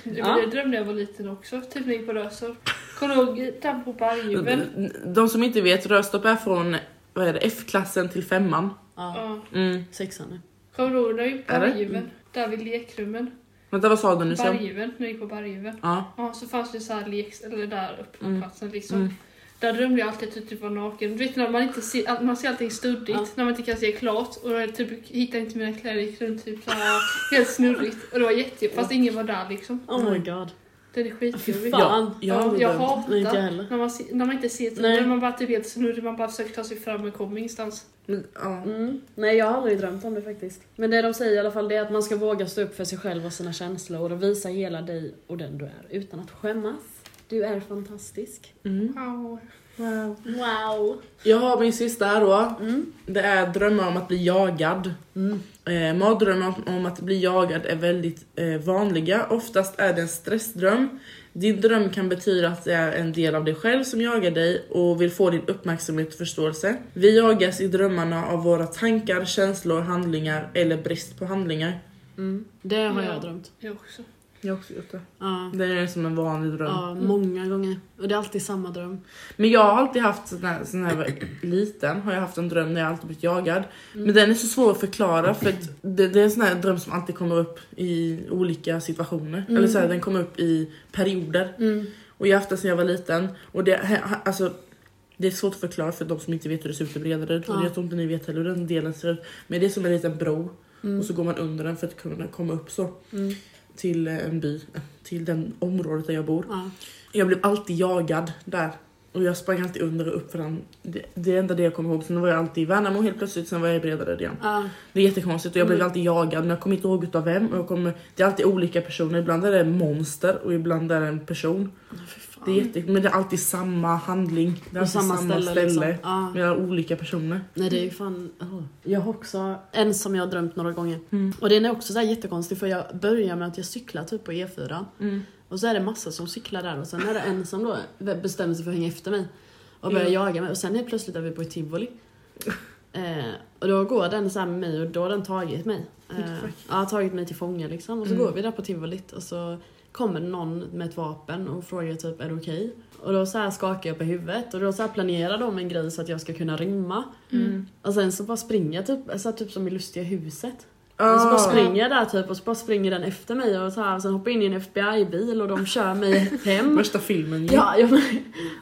Speaker 3: Det
Speaker 1: Ja.
Speaker 3: var det jag drömde när jag var liten också. Typ när jag gick på Röstorp. Kommer du ihåg där på bergdjuren?
Speaker 2: De som inte vet, Röstorp är från vad är det, F-klassen till femman.
Speaker 1: Ja,
Speaker 3: Ja.
Speaker 2: Mm.
Speaker 1: sexan nu.
Speaker 3: Kommer du ihåg när vi gick på
Speaker 2: Är det?
Speaker 3: bergdjuren? Där vid lekrummen.
Speaker 2: Vänta, vad sa du nu? sen?
Speaker 3: Bergdjuren, när vi gick på bergdjuren.
Speaker 2: Ja.
Speaker 3: Ja, så fanns det så här lek, eller där uppe på
Speaker 2: Mm.
Speaker 3: platsen liksom.
Speaker 2: Mm.
Speaker 3: Där drömde jag alltid att jag typ var naken. Du vet när man inte ser, att man ser allting studdigt,
Speaker 1: Ja.
Speaker 3: när man inte kan se klart. Och jag typ hittade inte mina kläder, gick runt typ såhär helt snurrigt. Och det var jättejobbigt, fast ingen var där liksom.
Speaker 1: Oh my god.
Speaker 3: Den är skitjobbig.
Speaker 1: fan.
Speaker 2: Ja, jag har
Speaker 3: Ja,
Speaker 2: aldrig
Speaker 3: jag
Speaker 2: drömt.
Speaker 3: hatar
Speaker 1: Nej, inte heller.
Speaker 3: när man, se, när man inte ser typ,
Speaker 1: Nej.
Speaker 3: när man bara typ helt snurrig, man bara försöker ta sig fram men kommer ingenstans.
Speaker 2: Men, ja.
Speaker 1: Mm. Nej jag har aldrig drömt om det faktiskt. Men det de säger i alla fall det är att man ska våga stå upp för sig själv och sina känslor och visa hela dig och den du är utan att skämmas. Du är fantastisk.
Speaker 2: Mm.
Speaker 3: Wow.
Speaker 2: Wow.
Speaker 1: Wow.
Speaker 2: Jag har min sista här då.
Speaker 1: Mm.
Speaker 2: Det är drömmar om att bli jagad.
Speaker 1: Mm.
Speaker 2: Eh, mardrömmar om att bli jagad är väldigt eh, vanliga. Oftast är det en stressdröm. Din dröm kan betyda att det är en del av dig själv som jagar dig och vill få din uppmärksamhet och förståelse. Vi jagas i drömmarna av våra tankar, känslor, handlingar eller brist på handlingar.
Speaker 1: Mm. Det har
Speaker 3: Ja.
Speaker 1: jag drömt.
Speaker 3: Jag också.
Speaker 2: Jag har också gjort det.
Speaker 1: Ja.
Speaker 2: Det är som en vanlig dröm.
Speaker 1: ja, många gånger. Och det är alltid samma dröm.
Speaker 2: Men jag har alltid haft, sån här, sån här jag var liten, har jag haft en dröm där jag alltid blivit jagad. Men den är så svår att förklara för att det, det är en sån här dröm som alltid kommer upp i olika situationer. Eller så här, den kommer upp i perioder.
Speaker 1: Mm.
Speaker 2: Och jag har haft den sedan jag var liten. Och det, he- ha- alltså, det är svårt att förklara för de som inte vet hur det ser ut i Bredaryd.
Speaker 1: Ja.
Speaker 2: Och jag tror inte ni vet heller hur den delen ser ut. Men det är som en liten bro.
Speaker 1: Mm.
Speaker 2: Och så går man under den för att kunna komma upp så.
Speaker 1: Mm.
Speaker 2: Till eh, en by, till den området där jag bor.
Speaker 1: Ja.
Speaker 2: Jag blev alltid jagad där. Och jag sprang alltid under och upp för den. Det, det är enda det jag kommer ihåg. Sen var jag alltid i Värnamo helt plötsligt, sen var jag i Bredaryd igen.
Speaker 1: Ja.
Speaker 2: Det är jättekonstigt och jag blev
Speaker 1: Mm.
Speaker 2: alltid jagad men jag kommer inte ihåg utav vem. Och jag kommer, det är alltid olika personer, ibland är det en monster och ibland är det en person.
Speaker 1: Fy fan.
Speaker 2: Det är jätte, men det är alltid samma handling. Det är
Speaker 1: Och
Speaker 2: alltid samma, ställe.
Speaker 1: Liksom. Ja.
Speaker 2: Men det är olika personer.
Speaker 1: Nej det är ju fan... åh. Jag har också en som jag har drömt några gånger.
Speaker 2: Mm.
Speaker 1: Och den är också så här jättekonstig för jag börjar med att jag cyklar typ på E4.
Speaker 2: Mm.
Speaker 1: Och så är det massa som cyklar där och sen är det en som då bestämmer sig för att hänga efter mig. Och börjar
Speaker 2: Mm.
Speaker 1: jaga mig och sen helt plötsligt är vi på ett tivoli. Eh, och då går den så här med mig och då har den tagit mig. Eh,
Speaker 2: Fuck.
Speaker 1: ja, tagit mig till fånga liksom. Och så
Speaker 2: Mm.
Speaker 1: går vi där på tivolit och så kommer någon med ett vapen och frågar typ är det okej? Och då så här skakar jag på huvudet och då så här planerar de en grej så att jag ska kunna rymma.
Speaker 2: Mm.
Speaker 1: Och sen så bara springer jag typ, så här, typ som i Lustiga huset. Och så bara
Speaker 2: Ah.
Speaker 1: springer jag där typ och så bara springer den efter mig och så här, och sen hoppar jag in i en FBI-bil och de kör <laughs> mig hem.
Speaker 2: Värsta filmen ju.
Speaker 1: Ja, jag,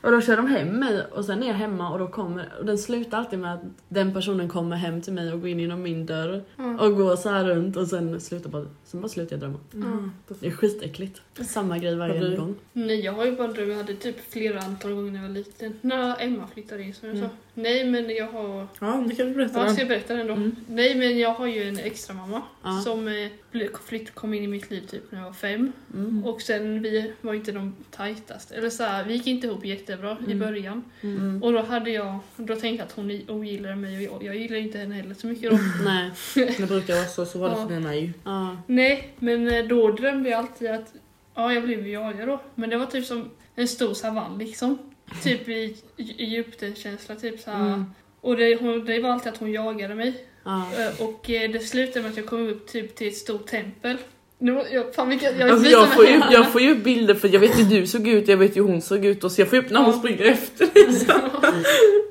Speaker 1: och då kör de hem mig och sen är jag hemma och då kommer, och den slutar alltid med att den personen kommer hem till mig och går in genom min dörr
Speaker 3: Mm.
Speaker 1: och går så här runt och sen slutar bara, sen bara slutar jag drömma.
Speaker 2: Mm.
Speaker 1: Det är skitäckligt. Samma grej
Speaker 2: Har
Speaker 1: varje
Speaker 2: du-
Speaker 1: gång.
Speaker 3: Nej, jag har ju bara en dröm. Jag hade typ flera antal gånger när jag var liten. När Emma flyttade in som jag
Speaker 2: Mm.
Speaker 3: sa. Nej, men jag har...
Speaker 2: Ja, det kan du berätta.
Speaker 3: Ja,
Speaker 2: om.
Speaker 3: ska jag berätta den då?
Speaker 2: Mm.
Speaker 3: Nej, men jag har ju en extra mamma
Speaker 1: Ja.
Speaker 3: som eh, blev- flytt, kom in i mitt liv typ när jag var fem.
Speaker 1: Mm.
Speaker 3: Och sen, vi var inte de tajtaste. Eller så här, vi gick inte ihop jättebra i
Speaker 2: Mm.
Speaker 3: början.
Speaker 1: Mm.
Speaker 3: Och då hade jag, då tänkte jag att hon ogillade mig och jag, jag gillar inte henne heller så mycket
Speaker 1: Mm.
Speaker 3: då.
Speaker 1: Nej.
Speaker 2: Det brukar vara så, så var det
Speaker 3: Ja.
Speaker 2: för den här ju.
Speaker 1: Ja.
Speaker 3: Nej, men eh, då drömde jag alltid att, ja jag blev ju jagad då, men det var typ som en stor savann liksom. Typ i i Egypten-känsla typ så här.
Speaker 1: Mm.
Speaker 3: Och det, hon, det var alltid att hon jagade mig.
Speaker 1: Ja.
Speaker 3: Eh, Och eh, det slutade med att jag kom upp typ till ett stort tempel. Nu, var- jag, fan vilka, jag,
Speaker 2: Alltså
Speaker 3: visar
Speaker 2: jag,
Speaker 3: mig
Speaker 2: får ju,
Speaker 3: här.
Speaker 2: jag får ju upp bilder för jag vet ju hur du såg ut, jag vet ju hur hon såg ut och så jag får ju upp när hon
Speaker 3: Ja.
Speaker 2: springer efter.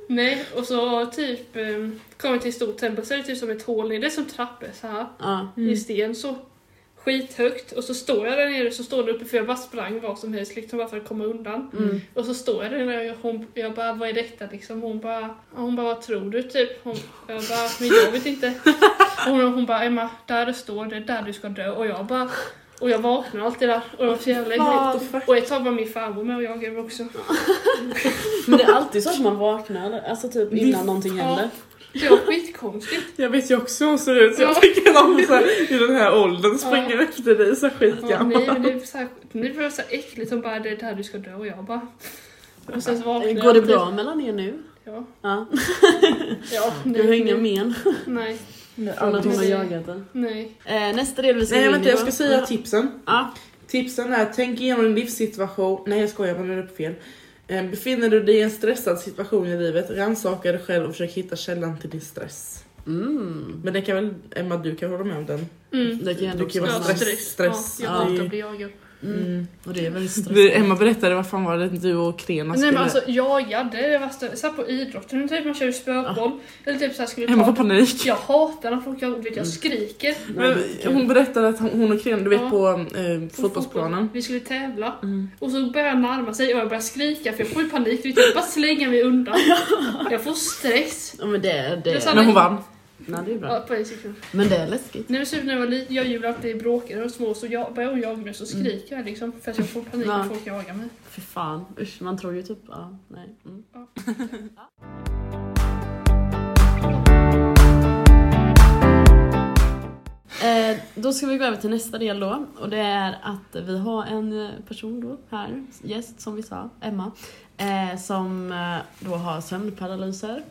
Speaker 3: Nej, och så typ eh, kom jag till ett stort tempel så är det typ som ett hål ner, det är som trappor så här.
Speaker 1: Ja.
Speaker 3: i sten så skithögt och så står jag där nere så står det uppe för jag bara sprang vad som helst liksom bara för att komma undan.
Speaker 1: Mm.
Speaker 3: Och så står jag där nere och hon, jag bara vad är detta liksom? Hon bara, hon bara vad tror du typ? Hon, jag bara men jag vet inte. Och hon, hon bara Emma där du står det är där du ska dö och jag bara och jag vaknar alltid där och det var så jävla
Speaker 1: Vad
Speaker 3: äckligt. Och ett tag var min farbror med och jag över också.
Speaker 1: Men det är alltid så att man vaknar, alltså typ innan någonting
Speaker 3: Ja.
Speaker 1: händer.
Speaker 3: Det var skitkonstigt.
Speaker 2: Jag vet ju också hur hon ser ut så jag
Speaker 3: Ja.
Speaker 2: tänker att hon så här, i den här åldern springer
Speaker 3: Ja.
Speaker 2: efter dig så
Speaker 3: Ja,
Speaker 2: skitgammal.
Speaker 3: nej men det var så här, nu var det så här äckligt hon bara det är där du ska dö och jag bara. Och sen så vaknade jag
Speaker 1: Går det
Speaker 3: alltid.
Speaker 1: bra mellan er nu?
Speaker 3: Ja.
Speaker 1: Ja.
Speaker 3: Ja,
Speaker 1: Du har inga men
Speaker 3: Nej,
Speaker 1: från att hon har
Speaker 3: precis.
Speaker 1: jagat dig?
Speaker 3: nej.
Speaker 1: Eh, nästa del vi ska
Speaker 2: Nej
Speaker 1: gå in
Speaker 2: vänta
Speaker 1: i
Speaker 2: jag
Speaker 1: då.
Speaker 2: ska säga tipsen.
Speaker 1: Ja.
Speaker 2: Tipsen är tänk igenom din livssituation, nej jag skojar jag la upp fel. Eh, Befinner du dig i en stressad situation i livet, rannsaka dig själv och försök hitta källan till din stress.
Speaker 1: Mm.
Speaker 2: Men det kan väl Emma du kan hålla med om den?
Speaker 3: Mm.
Speaker 1: Det kan jag
Speaker 2: Du
Speaker 1: ändå
Speaker 2: kan ju
Speaker 1: också
Speaker 2: vara
Speaker 1: vara
Speaker 2: stress.
Speaker 3: stress.
Speaker 2: stress.
Speaker 3: Ja, jag
Speaker 2: Det är
Speaker 3: hatar
Speaker 2: ju-
Speaker 3: att bli jagad.
Speaker 2: Mm.
Speaker 1: Och det är väldigt
Speaker 2: Vi,
Speaker 1: stressigt.
Speaker 2: Emma berättade vad fan var det du och Krena
Speaker 3: Nej
Speaker 2: skulle...
Speaker 3: men alltså jagad, det är det värsta. Jag satt på idrotten, typ man körde spökboll. Eller typ såhär skulle
Speaker 2: Emma
Speaker 3: ta...
Speaker 2: får panik.
Speaker 3: Jag hatar när folk gör ont, vet jag skriker.
Speaker 2: Men hon berättade att hon- hon och Krena, du vet
Speaker 3: Ja.
Speaker 2: på eh, fotbollsplanen.
Speaker 3: Vi skulle tävla.
Speaker 1: Mm.
Speaker 3: Och så börjar han närma sig och jag börjar skrika för jag får ju panik. Du vet, jag bara slänger mig undan.
Speaker 2: <laughs>
Speaker 3: Jag får stress.
Speaker 1: Ja, men det, är- det,
Speaker 3: Det är
Speaker 1: är-
Speaker 3: sant.
Speaker 2: Men hon vann.
Speaker 1: nej, det är bra.
Speaker 3: Ja, på en sekund.
Speaker 1: Men det är läskigt.
Speaker 3: Nej men typ när jag var liten, jag och Julia alltid bråkade och små så jag, börjar hon jaga mig så
Speaker 2: Mm.
Speaker 3: skriker jag liksom för att jag får panik
Speaker 1: Ja.
Speaker 3: när folk jagar mig.
Speaker 1: Fy fan, usch man tror ju typ, ja, nej. Mm. <laughs> Eh, då ska vi gå över till nästa del då och det är att vi har en eh, person då här, gäst som vi sa, Emma, eh, som eh, då har sömnparalyser.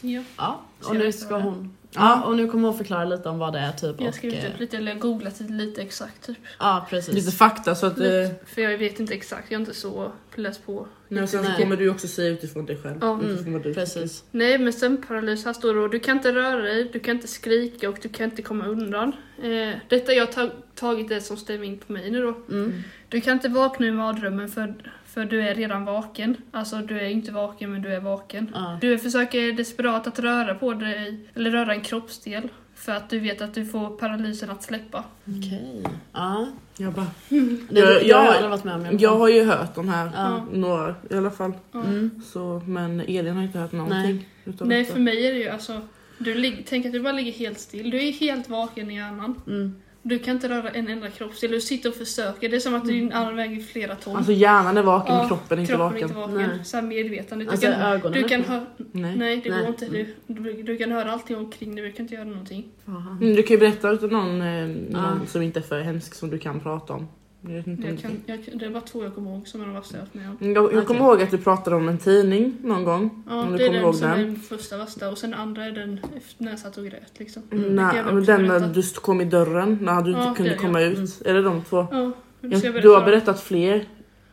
Speaker 3: Ja.
Speaker 1: Ja,
Speaker 3: Ska
Speaker 1: och
Speaker 3: jag
Speaker 1: nu ska
Speaker 3: förklara?
Speaker 1: hon Ja, och nu kommer hon förklara lite om vad det är typ
Speaker 3: Jag har
Speaker 1: och...
Speaker 3: skrivit
Speaker 1: eh,
Speaker 3: upp lite, eller googlat lite exakt typ.
Speaker 1: Ja, precis.
Speaker 2: Lite fakta så att... Eh,
Speaker 3: För jag vet inte exakt, jag har inte så läst på.
Speaker 2: nej, och sen så
Speaker 1: Nej.
Speaker 2: kommer du också säga utifrån dig själv.
Speaker 3: Ja. mm,
Speaker 2: Utifrån vad du
Speaker 1: Precis.
Speaker 3: Nej men sömnparalys, här står det då, du kan inte röra dig, du kan inte skrika och du kan inte komma undan. Eh, detta jag har tag- tagit det som stämmer in på mig nu då.
Speaker 1: Mm.
Speaker 3: Du kan inte vakna ur mardrömmen för, för du är redan vaken. Alltså du är inte vaken men du är vaken.
Speaker 2: Mm.
Speaker 1: Ja.
Speaker 3: Du försöker desperat att röra på dig, eller röra en kroppsdel. För att du vet att du får paralysen att släppa.
Speaker 1: Okej. Ja.
Speaker 2: Jag bara...
Speaker 1: Nej,
Speaker 2: Jag-
Speaker 1: jag,
Speaker 2: jag-
Speaker 1: har aldrig varit med om det.
Speaker 2: Jag har ju hört de här,
Speaker 1: Ja.
Speaker 2: några i alla fall.
Speaker 1: Mm.
Speaker 2: Så, men Elin har inte hört någonting. utav
Speaker 3: Nej
Speaker 2: detta.
Speaker 3: för mig är det ju alltså, du lig- tänk att du bara ligger helt still. Du är helt vaken i hjärnan.
Speaker 1: Mm.
Speaker 3: Du kan inte röra en enda kroppsdel, du sitter och försöker. Det är som att din arm väger flera ton.
Speaker 2: Mm. Alltså hjärnan är vaken,
Speaker 3: Ja,
Speaker 2: kroppen är inte
Speaker 3: kroppen
Speaker 2: vaken.
Speaker 3: är inte vaken.
Speaker 1: Nej.
Speaker 3: Så här medvetande. Du
Speaker 1: Alltså
Speaker 3: kan,
Speaker 1: ögonen.
Speaker 3: du kan höra...
Speaker 2: Nej.
Speaker 3: Nej det går
Speaker 1: Nej.
Speaker 3: inte. Du, du, du kan höra allting omkring dig, du kan inte göra någonting.
Speaker 1: Fan.
Speaker 2: Mm, du kan ju berätta utan någon, eh, någon
Speaker 1: Ja.
Speaker 2: som inte är för hemsk som du kan prata om. Jag, vet inte om
Speaker 3: Jag
Speaker 2: det-
Speaker 3: kan, jag, kan- det är bara två jag kommer ihåg som är de värsta jag har varit med om.
Speaker 2: Mm, jag, jag
Speaker 1: Okej.
Speaker 2: kommer ihåg att du pratade om en tidning någon gång.
Speaker 3: Ja,
Speaker 2: om du
Speaker 3: det är
Speaker 2: kommer
Speaker 3: den
Speaker 2: ihåg
Speaker 3: som är
Speaker 2: den.
Speaker 3: den första värsta och sen den andra är den efter när jag satt och grät liksom.
Speaker 2: Mm,
Speaker 3: det kan
Speaker 2: när,
Speaker 3: jag
Speaker 2: men
Speaker 3: också
Speaker 2: den när
Speaker 3: berätta.
Speaker 2: du st- kom i dörren, när du
Speaker 3: Ja,
Speaker 2: inte kunde
Speaker 3: det, ja.
Speaker 2: komma ut. Är det de två?
Speaker 3: Ja, men
Speaker 2: Ja,
Speaker 3: ska jag
Speaker 2: du har
Speaker 3: om-
Speaker 2: berättat fler.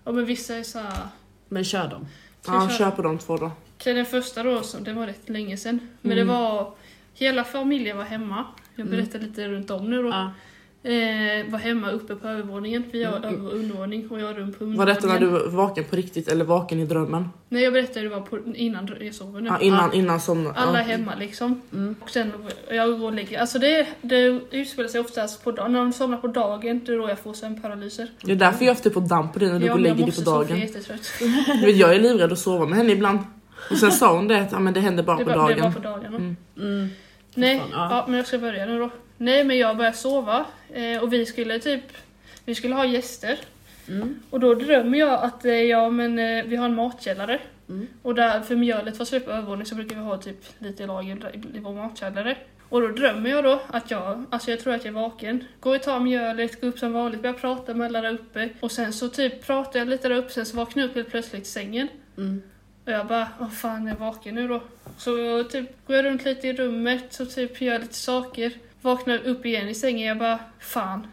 Speaker 3: Ja men vissa är såhär...
Speaker 1: Men kör dem.
Speaker 3: Ska Mm,
Speaker 2: Ja,
Speaker 3: vi
Speaker 2: kör på de två då.
Speaker 3: Okej den första då, som, det var rätt länge sedan. Men
Speaker 2: Mm.
Speaker 3: det var... Hela familjen var hemma. Jag
Speaker 1: Mm.
Speaker 3: berättar lite runt om nu då.
Speaker 1: Ja.
Speaker 3: Eh, var hemma uppe på övervåningen. Vi har över och undervåning och jag har rum på undervåningen.
Speaker 2: Mm. Var detta när du var vaken på riktigt eller vaken i drömmen?
Speaker 3: Nej jag berättade det var på, innan jag sov nu.
Speaker 2: Ja, innan, innan somnade.
Speaker 3: Alla är
Speaker 2: ja.
Speaker 3: hemma liksom.
Speaker 1: Mm.
Speaker 3: Och sen jag går och lägger Alltså det, det utspelar sig oftast på dagen. När de somnar på dagen, det är då jag får sömnparalyser.
Speaker 2: Det är därför jag ofta är på damp på dig när du
Speaker 3: Ja,
Speaker 2: går och
Speaker 3: men jag
Speaker 2: lägger dig på
Speaker 3: måste sova, för
Speaker 2: dagen.
Speaker 3: jag är jättetrött.
Speaker 2: Du vet, jag är livrädd att sova med henne ibland. Och sen sa hon det att ja, men det händer bara
Speaker 3: Det
Speaker 2: på
Speaker 3: var, det var
Speaker 2: dagen.
Speaker 3: på dagarna.
Speaker 2: Mm.
Speaker 1: Mm.
Speaker 3: Nej,
Speaker 1: Fan, ja.
Speaker 3: ja. men jag ska börja nu då. Nej, men jag började sova eh, och vi skulle typ, vi skulle ha gäster.
Speaker 1: Mm.
Speaker 3: Och då drömmer jag att eh, ja, men, eh, vi har en matkällare.
Speaker 1: Mm.
Speaker 3: Och där, för mjölet var slut på övervåningen så brukar vi ha typ lite lager där i, i vår matkällare. Och då drömmer jag då att jag, alltså jag tror att jag är vaken. Går och tar mjölet, går upp som vanligt, börjar prata med alla där uppe. Och sen så typ pratar jag lite där uppe, sen så vaknar jag upp helt plötsligt i sängen.
Speaker 1: Mm.
Speaker 3: Och jag bara, åh fan jag är vaken nu då. Så jag typ går jag runt lite i rummet och typ gör lite saker. Vaknar upp igen i sängen, jag bara,
Speaker 2: <laughs>
Speaker 3: fan.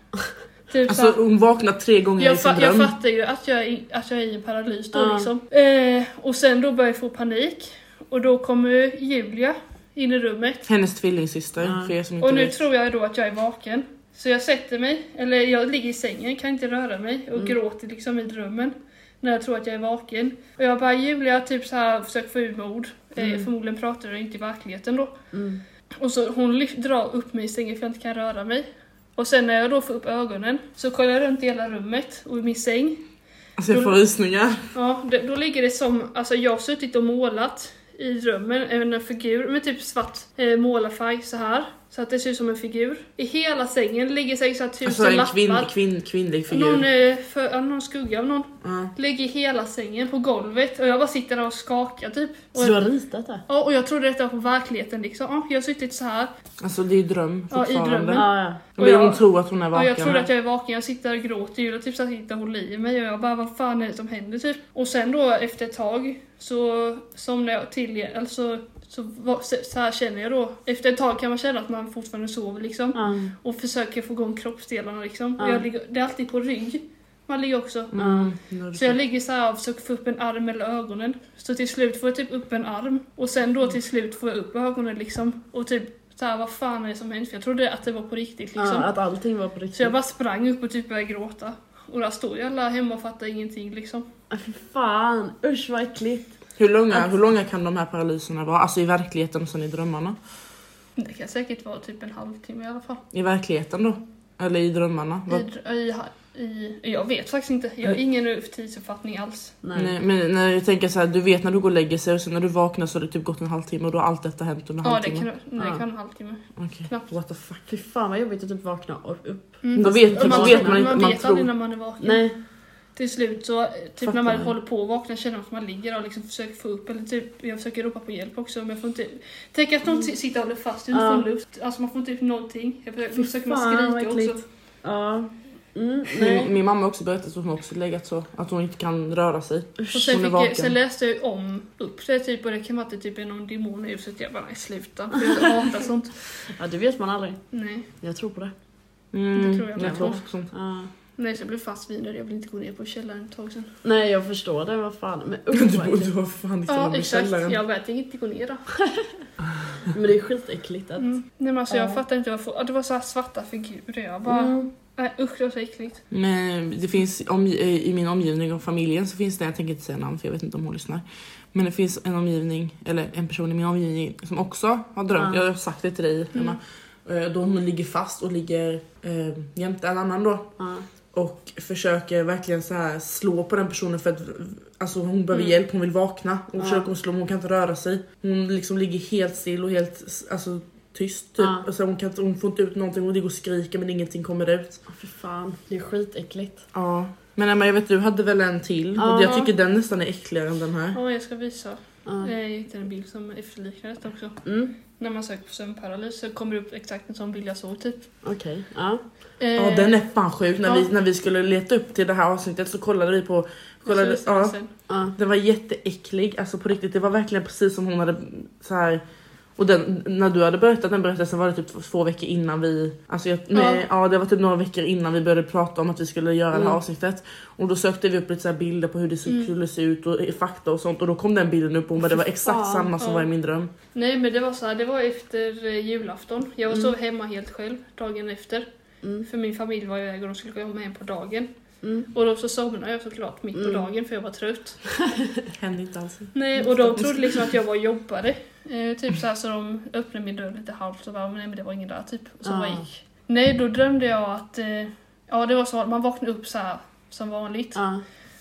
Speaker 3: Typ
Speaker 2: Alltså hon vaknar tre gånger i
Speaker 3: jag,
Speaker 2: sin
Speaker 3: fa- jag
Speaker 2: dröm.
Speaker 3: fattar ju att jag, är i- att jag är i en paralys då
Speaker 1: Ja.
Speaker 3: liksom. Eh, och sen då börjar jag få panik. Och då kommer Julia in i rummet.
Speaker 2: Hennes tvillingsyster
Speaker 1: Ja.
Speaker 2: för er som inte
Speaker 3: Och nu
Speaker 2: vet.
Speaker 3: tror jag då att jag är vaken. Så jag sätter mig, eller jag ligger i sängen, kan inte röra mig
Speaker 2: Mm.
Speaker 3: och gråter liksom i drömmen. När jag tror att jag är vaken. Och jag bara Julia typ så här försöker få ur mig ord.
Speaker 2: Mm.
Speaker 3: Eh, förmodligen pratar jag inte i verkligheten då.
Speaker 1: Mm.
Speaker 3: Och så hon lyft, drar upp mig i sängen för jag inte kan röra mig. Och sen när jag då får upp ögonen så kollar jag runt i hela rummet och i min säng.
Speaker 2: Alltså jag får rysningar.
Speaker 3: Ja, det, då ligger det som, alltså jag har suttit och målat i drömmen, även en figur med typ svart eh, målarfärg så här. Så att det ser ut som en figur. I hela sängen ligger säkert så här tusen
Speaker 2: Alltså en
Speaker 3: lappar.
Speaker 2: kvinn, kvinn, kvinnlig figur.
Speaker 3: någon, eh, för, ja, någon skugga av någon.
Speaker 2: Ja.
Speaker 3: Ligger i hela sängen på golvet och jag bara sitter där och skakar typ. Och,
Speaker 1: Så du har ritat det?
Speaker 3: ja, och jag trodde detta var på verkligheten liksom. Ja, jag har suttit så här.
Speaker 2: Alltså det är ju dröm
Speaker 3: Ja, i
Speaker 2: fortfarande.
Speaker 3: drömmen.
Speaker 2: Men
Speaker 1: Ja, ja.
Speaker 3: Och jag-
Speaker 2: hon tror att hon är
Speaker 3: Ja,
Speaker 2: vaken.
Speaker 3: jag trodde att jag är vaken, jag sitter där och gråter Julia typ så här sitter och håller i mig och jag bara vad fan är det som händer typ. Och sen då efter ett tag så somnar jag till igen, alltså så, va- så, så här känner jag då. Efter ett tag kan man känna att man fortfarande sover liksom
Speaker 1: Ja.
Speaker 3: och försöker få igång kroppsdelarna liksom. Och
Speaker 1: Ja.
Speaker 3: jag ligger, det är alltid på rygg man ligger också.
Speaker 2: Mm, nu är det
Speaker 3: Så jag ligger så här och försöker få upp en arm eller ögonen. Så till slut får jag typ upp en arm och sen då till slut får jag upp ögonen liksom och typ så här, vad fan är det som händer? För jag trodde att det var på riktigt liksom.
Speaker 1: Ja, att allting var på riktigt.
Speaker 3: Så jag bara sprang upp och typ började gråta. Och där står ju alla hemma och fattar ingenting liksom.
Speaker 1: Ah, Fy fan, usch vad äckligt.
Speaker 2: Hur långa, hur långa kan de här paralyserna vara? Alltså i verkligheten och sen i drömmarna.
Speaker 3: Det kan säkert vara typ en halvtimme i alla fall.
Speaker 2: I verkligheten då? Eller i drömmarna?
Speaker 3: I,
Speaker 2: Vad-
Speaker 3: i, i, jag vet faktiskt inte. Jag har ingen tidsuppfattning alls.
Speaker 1: Nej.
Speaker 2: Nej, men när jag tänker så här, du vet när du går och lägger sig och sen när du vaknar så har det typ gått en halvtimme och då har allt detta hänt under
Speaker 3: Ja, det kan,
Speaker 2: halvtimmen.
Speaker 3: nej, det
Speaker 1: Ja.
Speaker 3: kan vara en halvtimme.
Speaker 2: Okej.
Speaker 3: knappt.
Speaker 2: What the fuck.
Speaker 1: Fy fan vad jobbigt att typ vakna och upp.
Speaker 3: Mm.
Speaker 2: Då vet,
Speaker 3: Och
Speaker 2: typ,
Speaker 1: man-
Speaker 2: så vet man inte,
Speaker 3: man
Speaker 2: man
Speaker 3: vet aldrig
Speaker 2: tror.
Speaker 3: när man är vaken.
Speaker 1: Nej,
Speaker 3: Till slut så, typ
Speaker 2: Fattar
Speaker 3: när man
Speaker 2: jag.
Speaker 3: håller på att vakna känner man att man ligger och liksom försöker få upp eller typ, jag försöker ropa på hjälp också men jag får inte... Tänk att någon si- sitter och håller fast, du inte
Speaker 1: Ja.
Speaker 3: får luft, alltså man får inte ut någonting. Jag försöker,
Speaker 1: Fy
Speaker 3: försöker man
Speaker 1: fan, vad
Speaker 3: skrika
Speaker 1: äckligt.
Speaker 3: också.
Speaker 1: ja. Mm,
Speaker 2: Min,
Speaker 1: nej.
Speaker 2: min mamma har också berättat att hon också legat så, att hon inte kan röra sig.
Speaker 3: Och
Speaker 2: Hon
Speaker 3: sen,
Speaker 2: är
Speaker 3: fick
Speaker 2: vaken.
Speaker 3: jag, sen läste jag ju om upp det typ och det kan vara att det typ är någon demon i huset. Jag bara nej sluta,
Speaker 2: <laughs>
Speaker 3: för jag hatar sånt.
Speaker 1: Ja, det vet man aldrig.
Speaker 3: Nej,
Speaker 1: Jag tror på det.
Speaker 2: Mm,
Speaker 3: Det tror jag
Speaker 2: jag
Speaker 3: med.
Speaker 2: tror också sånt.
Speaker 1: Ja.
Speaker 3: nej så jag blev fast vid det. jag vill inte gå ner på källaren ett tag sen.
Speaker 1: Nej, jag förstår det. Vad fan. Men
Speaker 2: <laughs> Du
Speaker 1: usch, vad
Speaker 2: borde
Speaker 1: äckligt.
Speaker 2: du har fan inte
Speaker 3: Oh Ja
Speaker 2: någon i
Speaker 3: exakt,
Speaker 2: källaren.
Speaker 3: jag bara tänker inte gå ner då.
Speaker 1: Men det är skitäckligt att...
Speaker 3: Mm. Nej men alltså jag
Speaker 1: Ja.
Speaker 3: fattar inte varför, Ja, det var så här svarta figurer jag bara,
Speaker 1: Mm.
Speaker 3: nej usch det var så äckligt.
Speaker 2: Men det finns om, i min omgivning och familjen så finns det, jag tänker inte säga namn för jag vet inte om hon lyssnar. Men det finns en omgivning, eller en person i min omgivning som också har drömt,
Speaker 1: Ja. Mm.
Speaker 2: jag har sagt det till dig Emma. Eh, Då hon ligger fast och ligger eh, jämte en annan då.
Speaker 1: Ja.
Speaker 2: Och försöker verkligen så här slå på den personen för att alltså hon behöver hjälp, hon vill vakna. Hon
Speaker 1: Mm. Ja.
Speaker 2: försöker hon slå men hon kan inte röra sig. Hon liksom ligger helt still och helt alltså, tyst typ.
Speaker 1: Ja.
Speaker 2: Alltså, hon, kan, inte- hon får inte ut någonting, hon ligger och skriker men ingenting kommer ut.
Speaker 1: Ja, Fy fan, det är skitäckligt.
Speaker 2: Ja. Men Emma jag vet du hade väl en till och
Speaker 1: Ja.
Speaker 2: jag tycker den nästan är äckligare än den här.
Speaker 3: Ja jag ska visa.
Speaker 1: Ja.
Speaker 3: Jag hittade en bild som efterliknar detta också.
Speaker 1: Mm,
Speaker 3: När man söker på sömnparalys så kommer det upp exakt en sån bild jag såg typ.
Speaker 1: Okej, ja.
Speaker 2: Ja den är fan sjuk. När,
Speaker 3: Eh, ja.
Speaker 2: vi, när vi skulle leta upp till det här avsnittet så kollade vi på...
Speaker 3: Eh,
Speaker 2: Kollade, ja,
Speaker 1: ja.
Speaker 2: den var jätteäcklig, alltså på riktigt. Det var verkligen precis som hon hade så här. Och den, när du hade berättat den berättelsen var det typ två- två veckor innan vi... Alltså jag, nej, ja. det var typ några veckor innan vi började prata om att vi skulle göra det
Speaker 1: Mm.
Speaker 2: här avsnittet. Och då sökte vi upp lite så här bilder på hur det
Speaker 3: Mm.
Speaker 2: skulle se ut och fakta och sånt. Och då kom den bilden upp och hon bara det var
Speaker 1: Fy
Speaker 2: exakt
Speaker 1: fan,
Speaker 2: samma som
Speaker 3: ja.
Speaker 2: var i min dröm.
Speaker 3: Nej men det var så här, det var efter eh, julafton. Jag sov hemma helt själv dagen efter.
Speaker 1: Mm.
Speaker 3: För min familj var iväg och de skulle komma hem på dagen.
Speaker 1: Mm.
Speaker 3: Och då så somnade jag såklart mitt på
Speaker 1: Mm.
Speaker 3: dagen för jag var trött.
Speaker 2: Hände inte alls.
Speaker 3: Nej, och de trodde liksom att jag var och jobbade. Eh, typ så här så de öppnade min dörr lite halvt och bara, men nej men det var ingen där typ. Och så
Speaker 1: Ah.
Speaker 3: bara gick. Nej, då drömde jag att, eh, ja det var så att man vaknade upp så här som vanligt.
Speaker 1: Ja.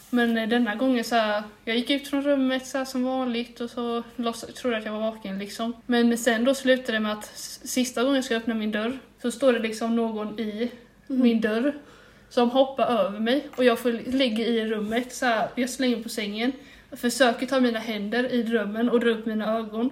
Speaker 3: Men eh, denna gången så här, jag gick ut från rummet så här som vanligt och så låts, trodde jag att jag var vaken liksom. Men sen då slutade det med att s- sista gången jag ska öppna min dörr så står det liksom någon i
Speaker 1: Mhm. Mm.
Speaker 3: min dörr som hoppar över mig och jag får ligga i rummet så här, jag slänger på sängen, försöker ta mina händer i drömmen och dra upp mina ögon.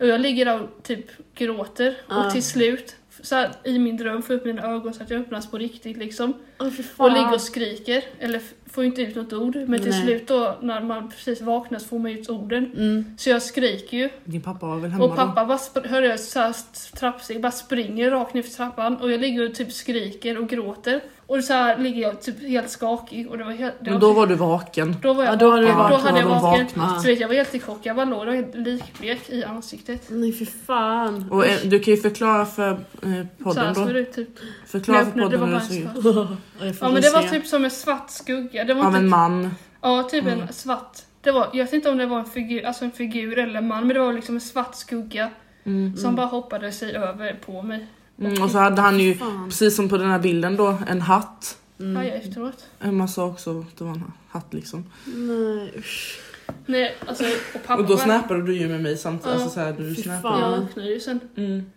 Speaker 3: Och jag ligger där och typ gråter
Speaker 1: Ah.
Speaker 3: och till slut så här, i min dröm får jag upp mina ögon så att jag öppnas på riktigt liksom.
Speaker 1: Åh, fy fan.
Speaker 3: Och ligger och skriker, eller f- får inte ut något ord. Men till
Speaker 1: Nej.
Speaker 3: slut då när man precis vaknar så får man ut orden.
Speaker 1: Mm.
Speaker 3: Så jag skriker ju
Speaker 2: Din pappa var väl hemma
Speaker 3: och
Speaker 2: då?
Speaker 3: pappa bara sp- hör jag så här st- trappsteg, bara springer rakt ner för trappan och jag ligger och typ skriker och gråter. Och så här ligger jag typ helt skakig och det var helt... Det
Speaker 2: Men då var du vaken.
Speaker 3: då var jag
Speaker 1: Ja, då hade du
Speaker 3: vaken.
Speaker 2: varit-
Speaker 3: Då
Speaker 2: då
Speaker 3: hade jag
Speaker 2: hade de
Speaker 3: vaken.
Speaker 2: vaknat.
Speaker 3: Så vet, jag var helt i chock, jag bara låg där helt likblek i ansiktet.
Speaker 1: Nej, fy fan.
Speaker 2: Och eh, du kan ju förklara för eh,
Speaker 3: Så här
Speaker 2: podden
Speaker 3: såg det
Speaker 2: då.
Speaker 3: ut typ.
Speaker 2: Förklara
Speaker 3: Jag
Speaker 2: för
Speaker 3: öppnade, det
Speaker 2: podden
Speaker 3: var
Speaker 2: hur
Speaker 3: bara
Speaker 2: det
Speaker 3: en
Speaker 2: såg ut.
Speaker 3: svart.
Speaker 1: <laughs> Jag får
Speaker 3: Ja
Speaker 1: väl
Speaker 3: men det var
Speaker 1: se.
Speaker 3: typ som en svart skugga. Det var
Speaker 2: Av
Speaker 3: inte
Speaker 2: en man.
Speaker 3: Ja, typ
Speaker 2: Mm.
Speaker 3: en svart. Det var, jag vet inte om det var en figur, alltså en figur eller en man, men det var liksom en svart skugga
Speaker 2: Mm.
Speaker 3: som bara hoppade sig över på mig.
Speaker 2: Mm, och så hade han ju,
Speaker 1: Fan. Mm.
Speaker 2: precis som på den här bilden då, en hatt.
Speaker 3: Ja, jag efteråt.
Speaker 2: Emma sa också att det var en hatt liksom.
Speaker 1: Nej, usch.
Speaker 3: Nej, alltså, och pappa
Speaker 2: Och då
Speaker 3: var-
Speaker 2: snappade du ju med mig samtidigt.
Speaker 3: Ja.
Speaker 2: Alltså såhär, du
Speaker 1: Fy
Speaker 2: snappade.
Speaker 1: fan.
Speaker 3: Jag vaknade ju sen.
Speaker 2: Mm.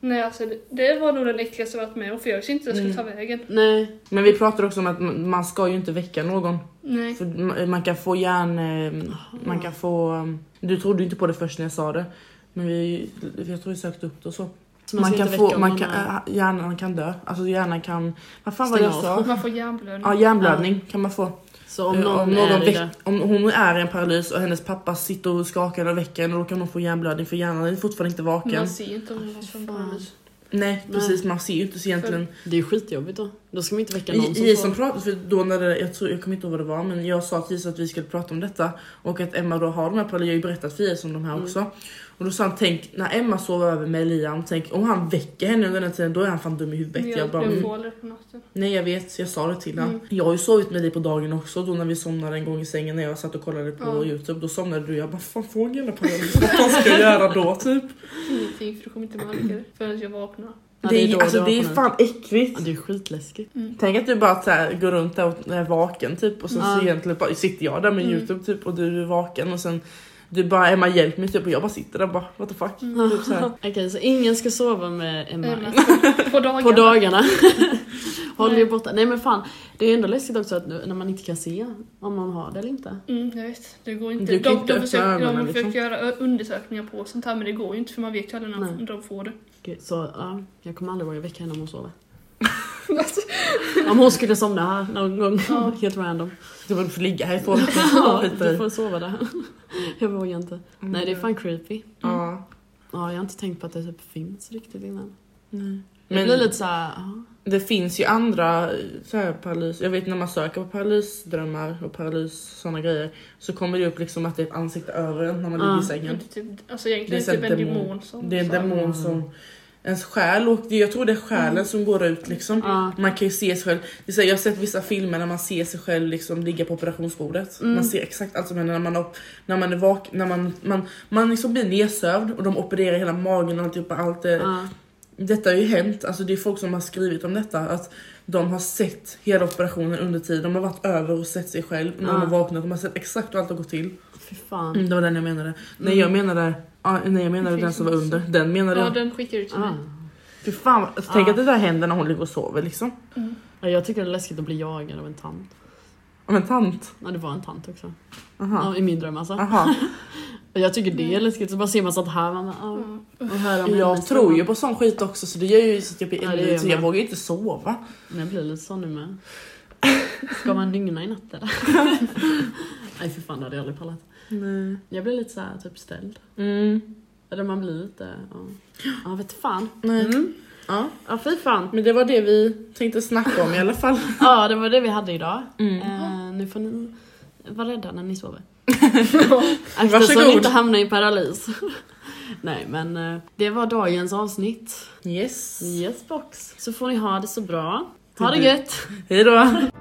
Speaker 3: Nej, alltså det, det var nog den äckligaste jag varit med om för jag visste inte jag skulle ta vägen.
Speaker 1: Nej.
Speaker 2: Men vi pratade också om att man man ska ju inte väcka någon.
Speaker 3: Nej.
Speaker 2: För ma- man kan få hjärn... eh, Man kan få... eh, Du trodde ju inte på det först när jag sa det. Men vi, jag tror vi sökte upp det och så.
Speaker 1: Så
Speaker 2: Man
Speaker 1: ska
Speaker 2: kan
Speaker 1: inte
Speaker 2: få,
Speaker 1: väcka om
Speaker 2: man kan,
Speaker 1: är-
Speaker 2: äh, hjärnan kan dö, alltså hjärnan kan... Vad fan var det
Speaker 1: Stänga
Speaker 2: jag
Speaker 1: av.
Speaker 2: sa?
Speaker 3: Man får hjärnblödning.
Speaker 2: Ja hjärnblödning kan man få.
Speaker 1: Så om
Speaker 2: Eh,
Speaker 1: någon, är i
Speaker 2: väck-
Speaker 1: det.
Speaker 2: om hon är i en paralys och hennes pappa sitter och skakar och väcker henne då kan hon få hjärnblödning för hjärnan är fortfarande inte vaken.
Speaker 3: Man ser inte om det var som
Speaker 1: Fan.
Speaker 3: paralys.
Speaker 2: Nej precis man ser ju inte så egentligen.
Speaker 1: Det är ju skitjobbigt då. Då ska man inte väcka någon
Speaker 2: I- I
Speaker 1: får-
Speaker 2: som pratade, för då när det, jag, tror, jag kommer inte ihåg vad det var
Speaker 1: Mm.
Speaker 2: men jag sa till Isa att vi skulle prata om detta och att Emma då har de här paralyserna, jag har ju berättat för Isa om de här också. Och då sa han tänk när Emma sover över med Liam, tänk om han väcker henne under den tiden då är han fan dum i huvudet.
Speaker 3: Jag,
Speaker 2: Jag bara,
Speaker 3: jag
Speaker 2: mm.
Speaker 3: får aldrig på natten.
Speaker 2: Nej jag vet, jag sa det till honom.
Speaker 3: Mm.
Speaker 2: Jag har ju sovit med dig på dagen också då när vi somnade en gång i sängen när jag satt och kollade på
Speaker 3: Ja.
Speaker 2: youtube. Då somnade du jag bara fan fåglarna på den. <laughs> Vad fan ska jag göra då typ?
Speaker 3: Ingenting för du kommer inte märka
Speaker 1: <clears throat>
Speaker 3: det förrän jag vaknar.
Speaker 1: Ja,
Speaker 2: det, är,
Speaker 1: då
Speaker 2: alltså,
Speaker 1: du
Speaker 2: det är
Speaker 1: vaknar.
Speaker 2: fan äckligt.
Speaker 1: Ja, det är skitläskigt.
Speaker 2: Tänk att du bara så här, går runt där och är vaken typ och sen
Speaker 1: Ja.
Speaker 2: så egentligen bara, sitter jag där med
Speaker 3: Mm.
Speaker 2: youtube typ och du är vaken och sen du bara Emma hjälp mig typ och jag bara sitter där bara what the fuck. Typ
Speaker 1: <laughs>
Speaker 2: så här.
Speaker 1: Okej, så ingen ska sova med Ah. Emma.
Speaker 2: Mm.
Speaker 3: Emma, På dagen.
Speaker 1: På <laughs> dagarna. Håll
Speaker 3: Nej.
Speaker 1: er borta. Nej men fan, det är ändå läskigt också att nu- när man inte kan se om man har det eller inte.
Speaker 3: Mm, jag vet, det går inte.
Speaker 2: Du kan
Speaker 3: de,
Speaker 2: inte
Speaker 3: de
Speaker 2: öppna
Speaker 3: försöker, de
Speaker 2: ögonen, liksom.
Speaker 3: försöker göra ö- undersökningar på sånt här men det går ju inte för man vet ju aldrig när
Speaker 1: Nej.
Speaker 3: de
Speaker 2: <laughs>
Speaker 3: får det.
Speaker 1: Gud, så ja, jag kommer aldrig våga väcka henne om hon sover.
Speaker 2: Alltså,
Speaker 1: Om hon skulle somna här någon gång,
Speaker 3: Ja.
Speaker 1: helt random.
Speaker 2: Du borde få ligga härifrån.
Speaker 1: <laughs> Ja,
Speaker 2: Skit i
Speaker 1: du
Speaker 2: det.
Speaker 1: får sova där. Jag vågar inte. Nej det är fan creepy.
Speaker 2: Ja.
Speaker 1: Ja, jag har inte tänkt på att det typ finns riktigt innan.
Speaker 2: Nej.
Speaker 1: det
Speaker 2: Men-
Speaker 1: Mm. blir lite såhär, ja.
Speaker 2: Det finns ju andra så här, paralys, jag vet när man söker på paralysdrömmar och paralys såna grejer så kommer det upp liksom att det är ett ansikte över en när man
Speaker 1: Ja.
Speaker 2: ligger i
Speaker 3: Det är
Speaker 2: sängen.
Speaker 3: typ, alltså egentligen
Speaker 2: Det är
Speaker 3: typ en
Speaker 2: demon.
Speaker 3: demon som...
Speaker 2: Det är en
Speaker 3: så här-
Speaker 2: demon som ens själ och det, jag tror det är själen som går ut liksom.
Speaker 1: Mm. Ja.
Speaker 2: Man kan ju se sig själv, det är så här, jag har sett vissa filmer när man ser sig själv liksom ligga på operationsbordet.
Speaker 1: Mm.
Speaker 2: Man ser exakt allt som händer när man, op- när man är vaken, när man, man, man liksom blir nedsövd och de opererar hela magen och alltihopa. Allt är,
Speaker 1: ja.
Speaker 2: Detta har ju hänt, alltså det är folk som har skrivit om detta att de har sett hela operationen under tiden, de har varit över och sett sig själv, när de har
Speaker 1: Ja.
Speaker 2: vaknat, de har sett exakt hur allt har gått till.
Speaker 1: Fy fan.
Speaker 2: Mm, det var den jag menade. Nej jag menade, ja, nej, jag menade
Speaker 3: Det
Speaker 2: den
Speaker 3: finns
Speaker 2: som var
Speaker 3: också.
Speaker 2: under, den menade
Speaker 3: Ja
Speaker 2: jag.
Speaker 3: den skickar ut till
Speaker 1: Ah.
Speaker 3: mig.
Speaker 2: Fy fan, alltså, tänk
Speaker 1: Ja.
Speaker 2: att det där händer när hon ligger och sover liksom.
Speaker 3: Mm.
Speaker 1: Ja, jag tycker det är läskigt att bli jagad av en tant.
Speaker 2: Om en tant.
Speaker 1: Ja, det var en tant också.
Speaker 2: Aha.
Speaker 1: Ja, I min dröm alltså.
Speaker 2: Aha.
Speaker 1: Och jag tycker det är läskigt, så bara ser man sånt här man bara, ah.
Speaker 3: Ja.
Speaker 1: och hör om
Speaker 2: Jag
Speaker 1: hennes
Speaker 2: tror
Speaker 1: drömmar.
Speaker 2: ju på sån skit också så det gör ju så att jag blir
Speaker 1: Ja, det
Speaker 2: äldre
Speaker 1: gör
Speaker 2: så jag
Speaker 1: man.
Speaker 2: vågar ju inte sova.
Speaker 1: Men jag blir lite sån nu med. Ska man dygna i natt
Speaker 2: <laughs>
Speaker 1: eller? Nej för fan det hade jag aldrig pallat.
Speaker 2: Nej.
Speaker 1: Jag blir lite så här typ ställd.
Speaker 2: Mm.
Speaker 1: Eller man blir lite, ja. Ja vet fan.
Speaker 2: Nej.
Speaker 1: Mm.
Speaker 2: Ja.
Speaker 1: Ja fy fan.
Speaker 2: Men det var det vi tänkte snacka om i alla fall.
Speaker 1: Ja det var det vi hade idag.
Speaker 2: Mm.
Speaker 1: Eh, nu får ni vara rädda när ni
Speaker 2: <laughs>
Speaker 1: sover. Eftersom ni
Speaker 2: Varsågod.
Speaker 1: inte hamnar i paralys. Nej men eh, det var dagens avsnitt.
Speaker 2: Yes.
Speaker 1: Yes box. Så får ni ha det så bra. Ha det
Speaker 2: Du-
Speaker 1: gött.
Speaker 2: Hejdå!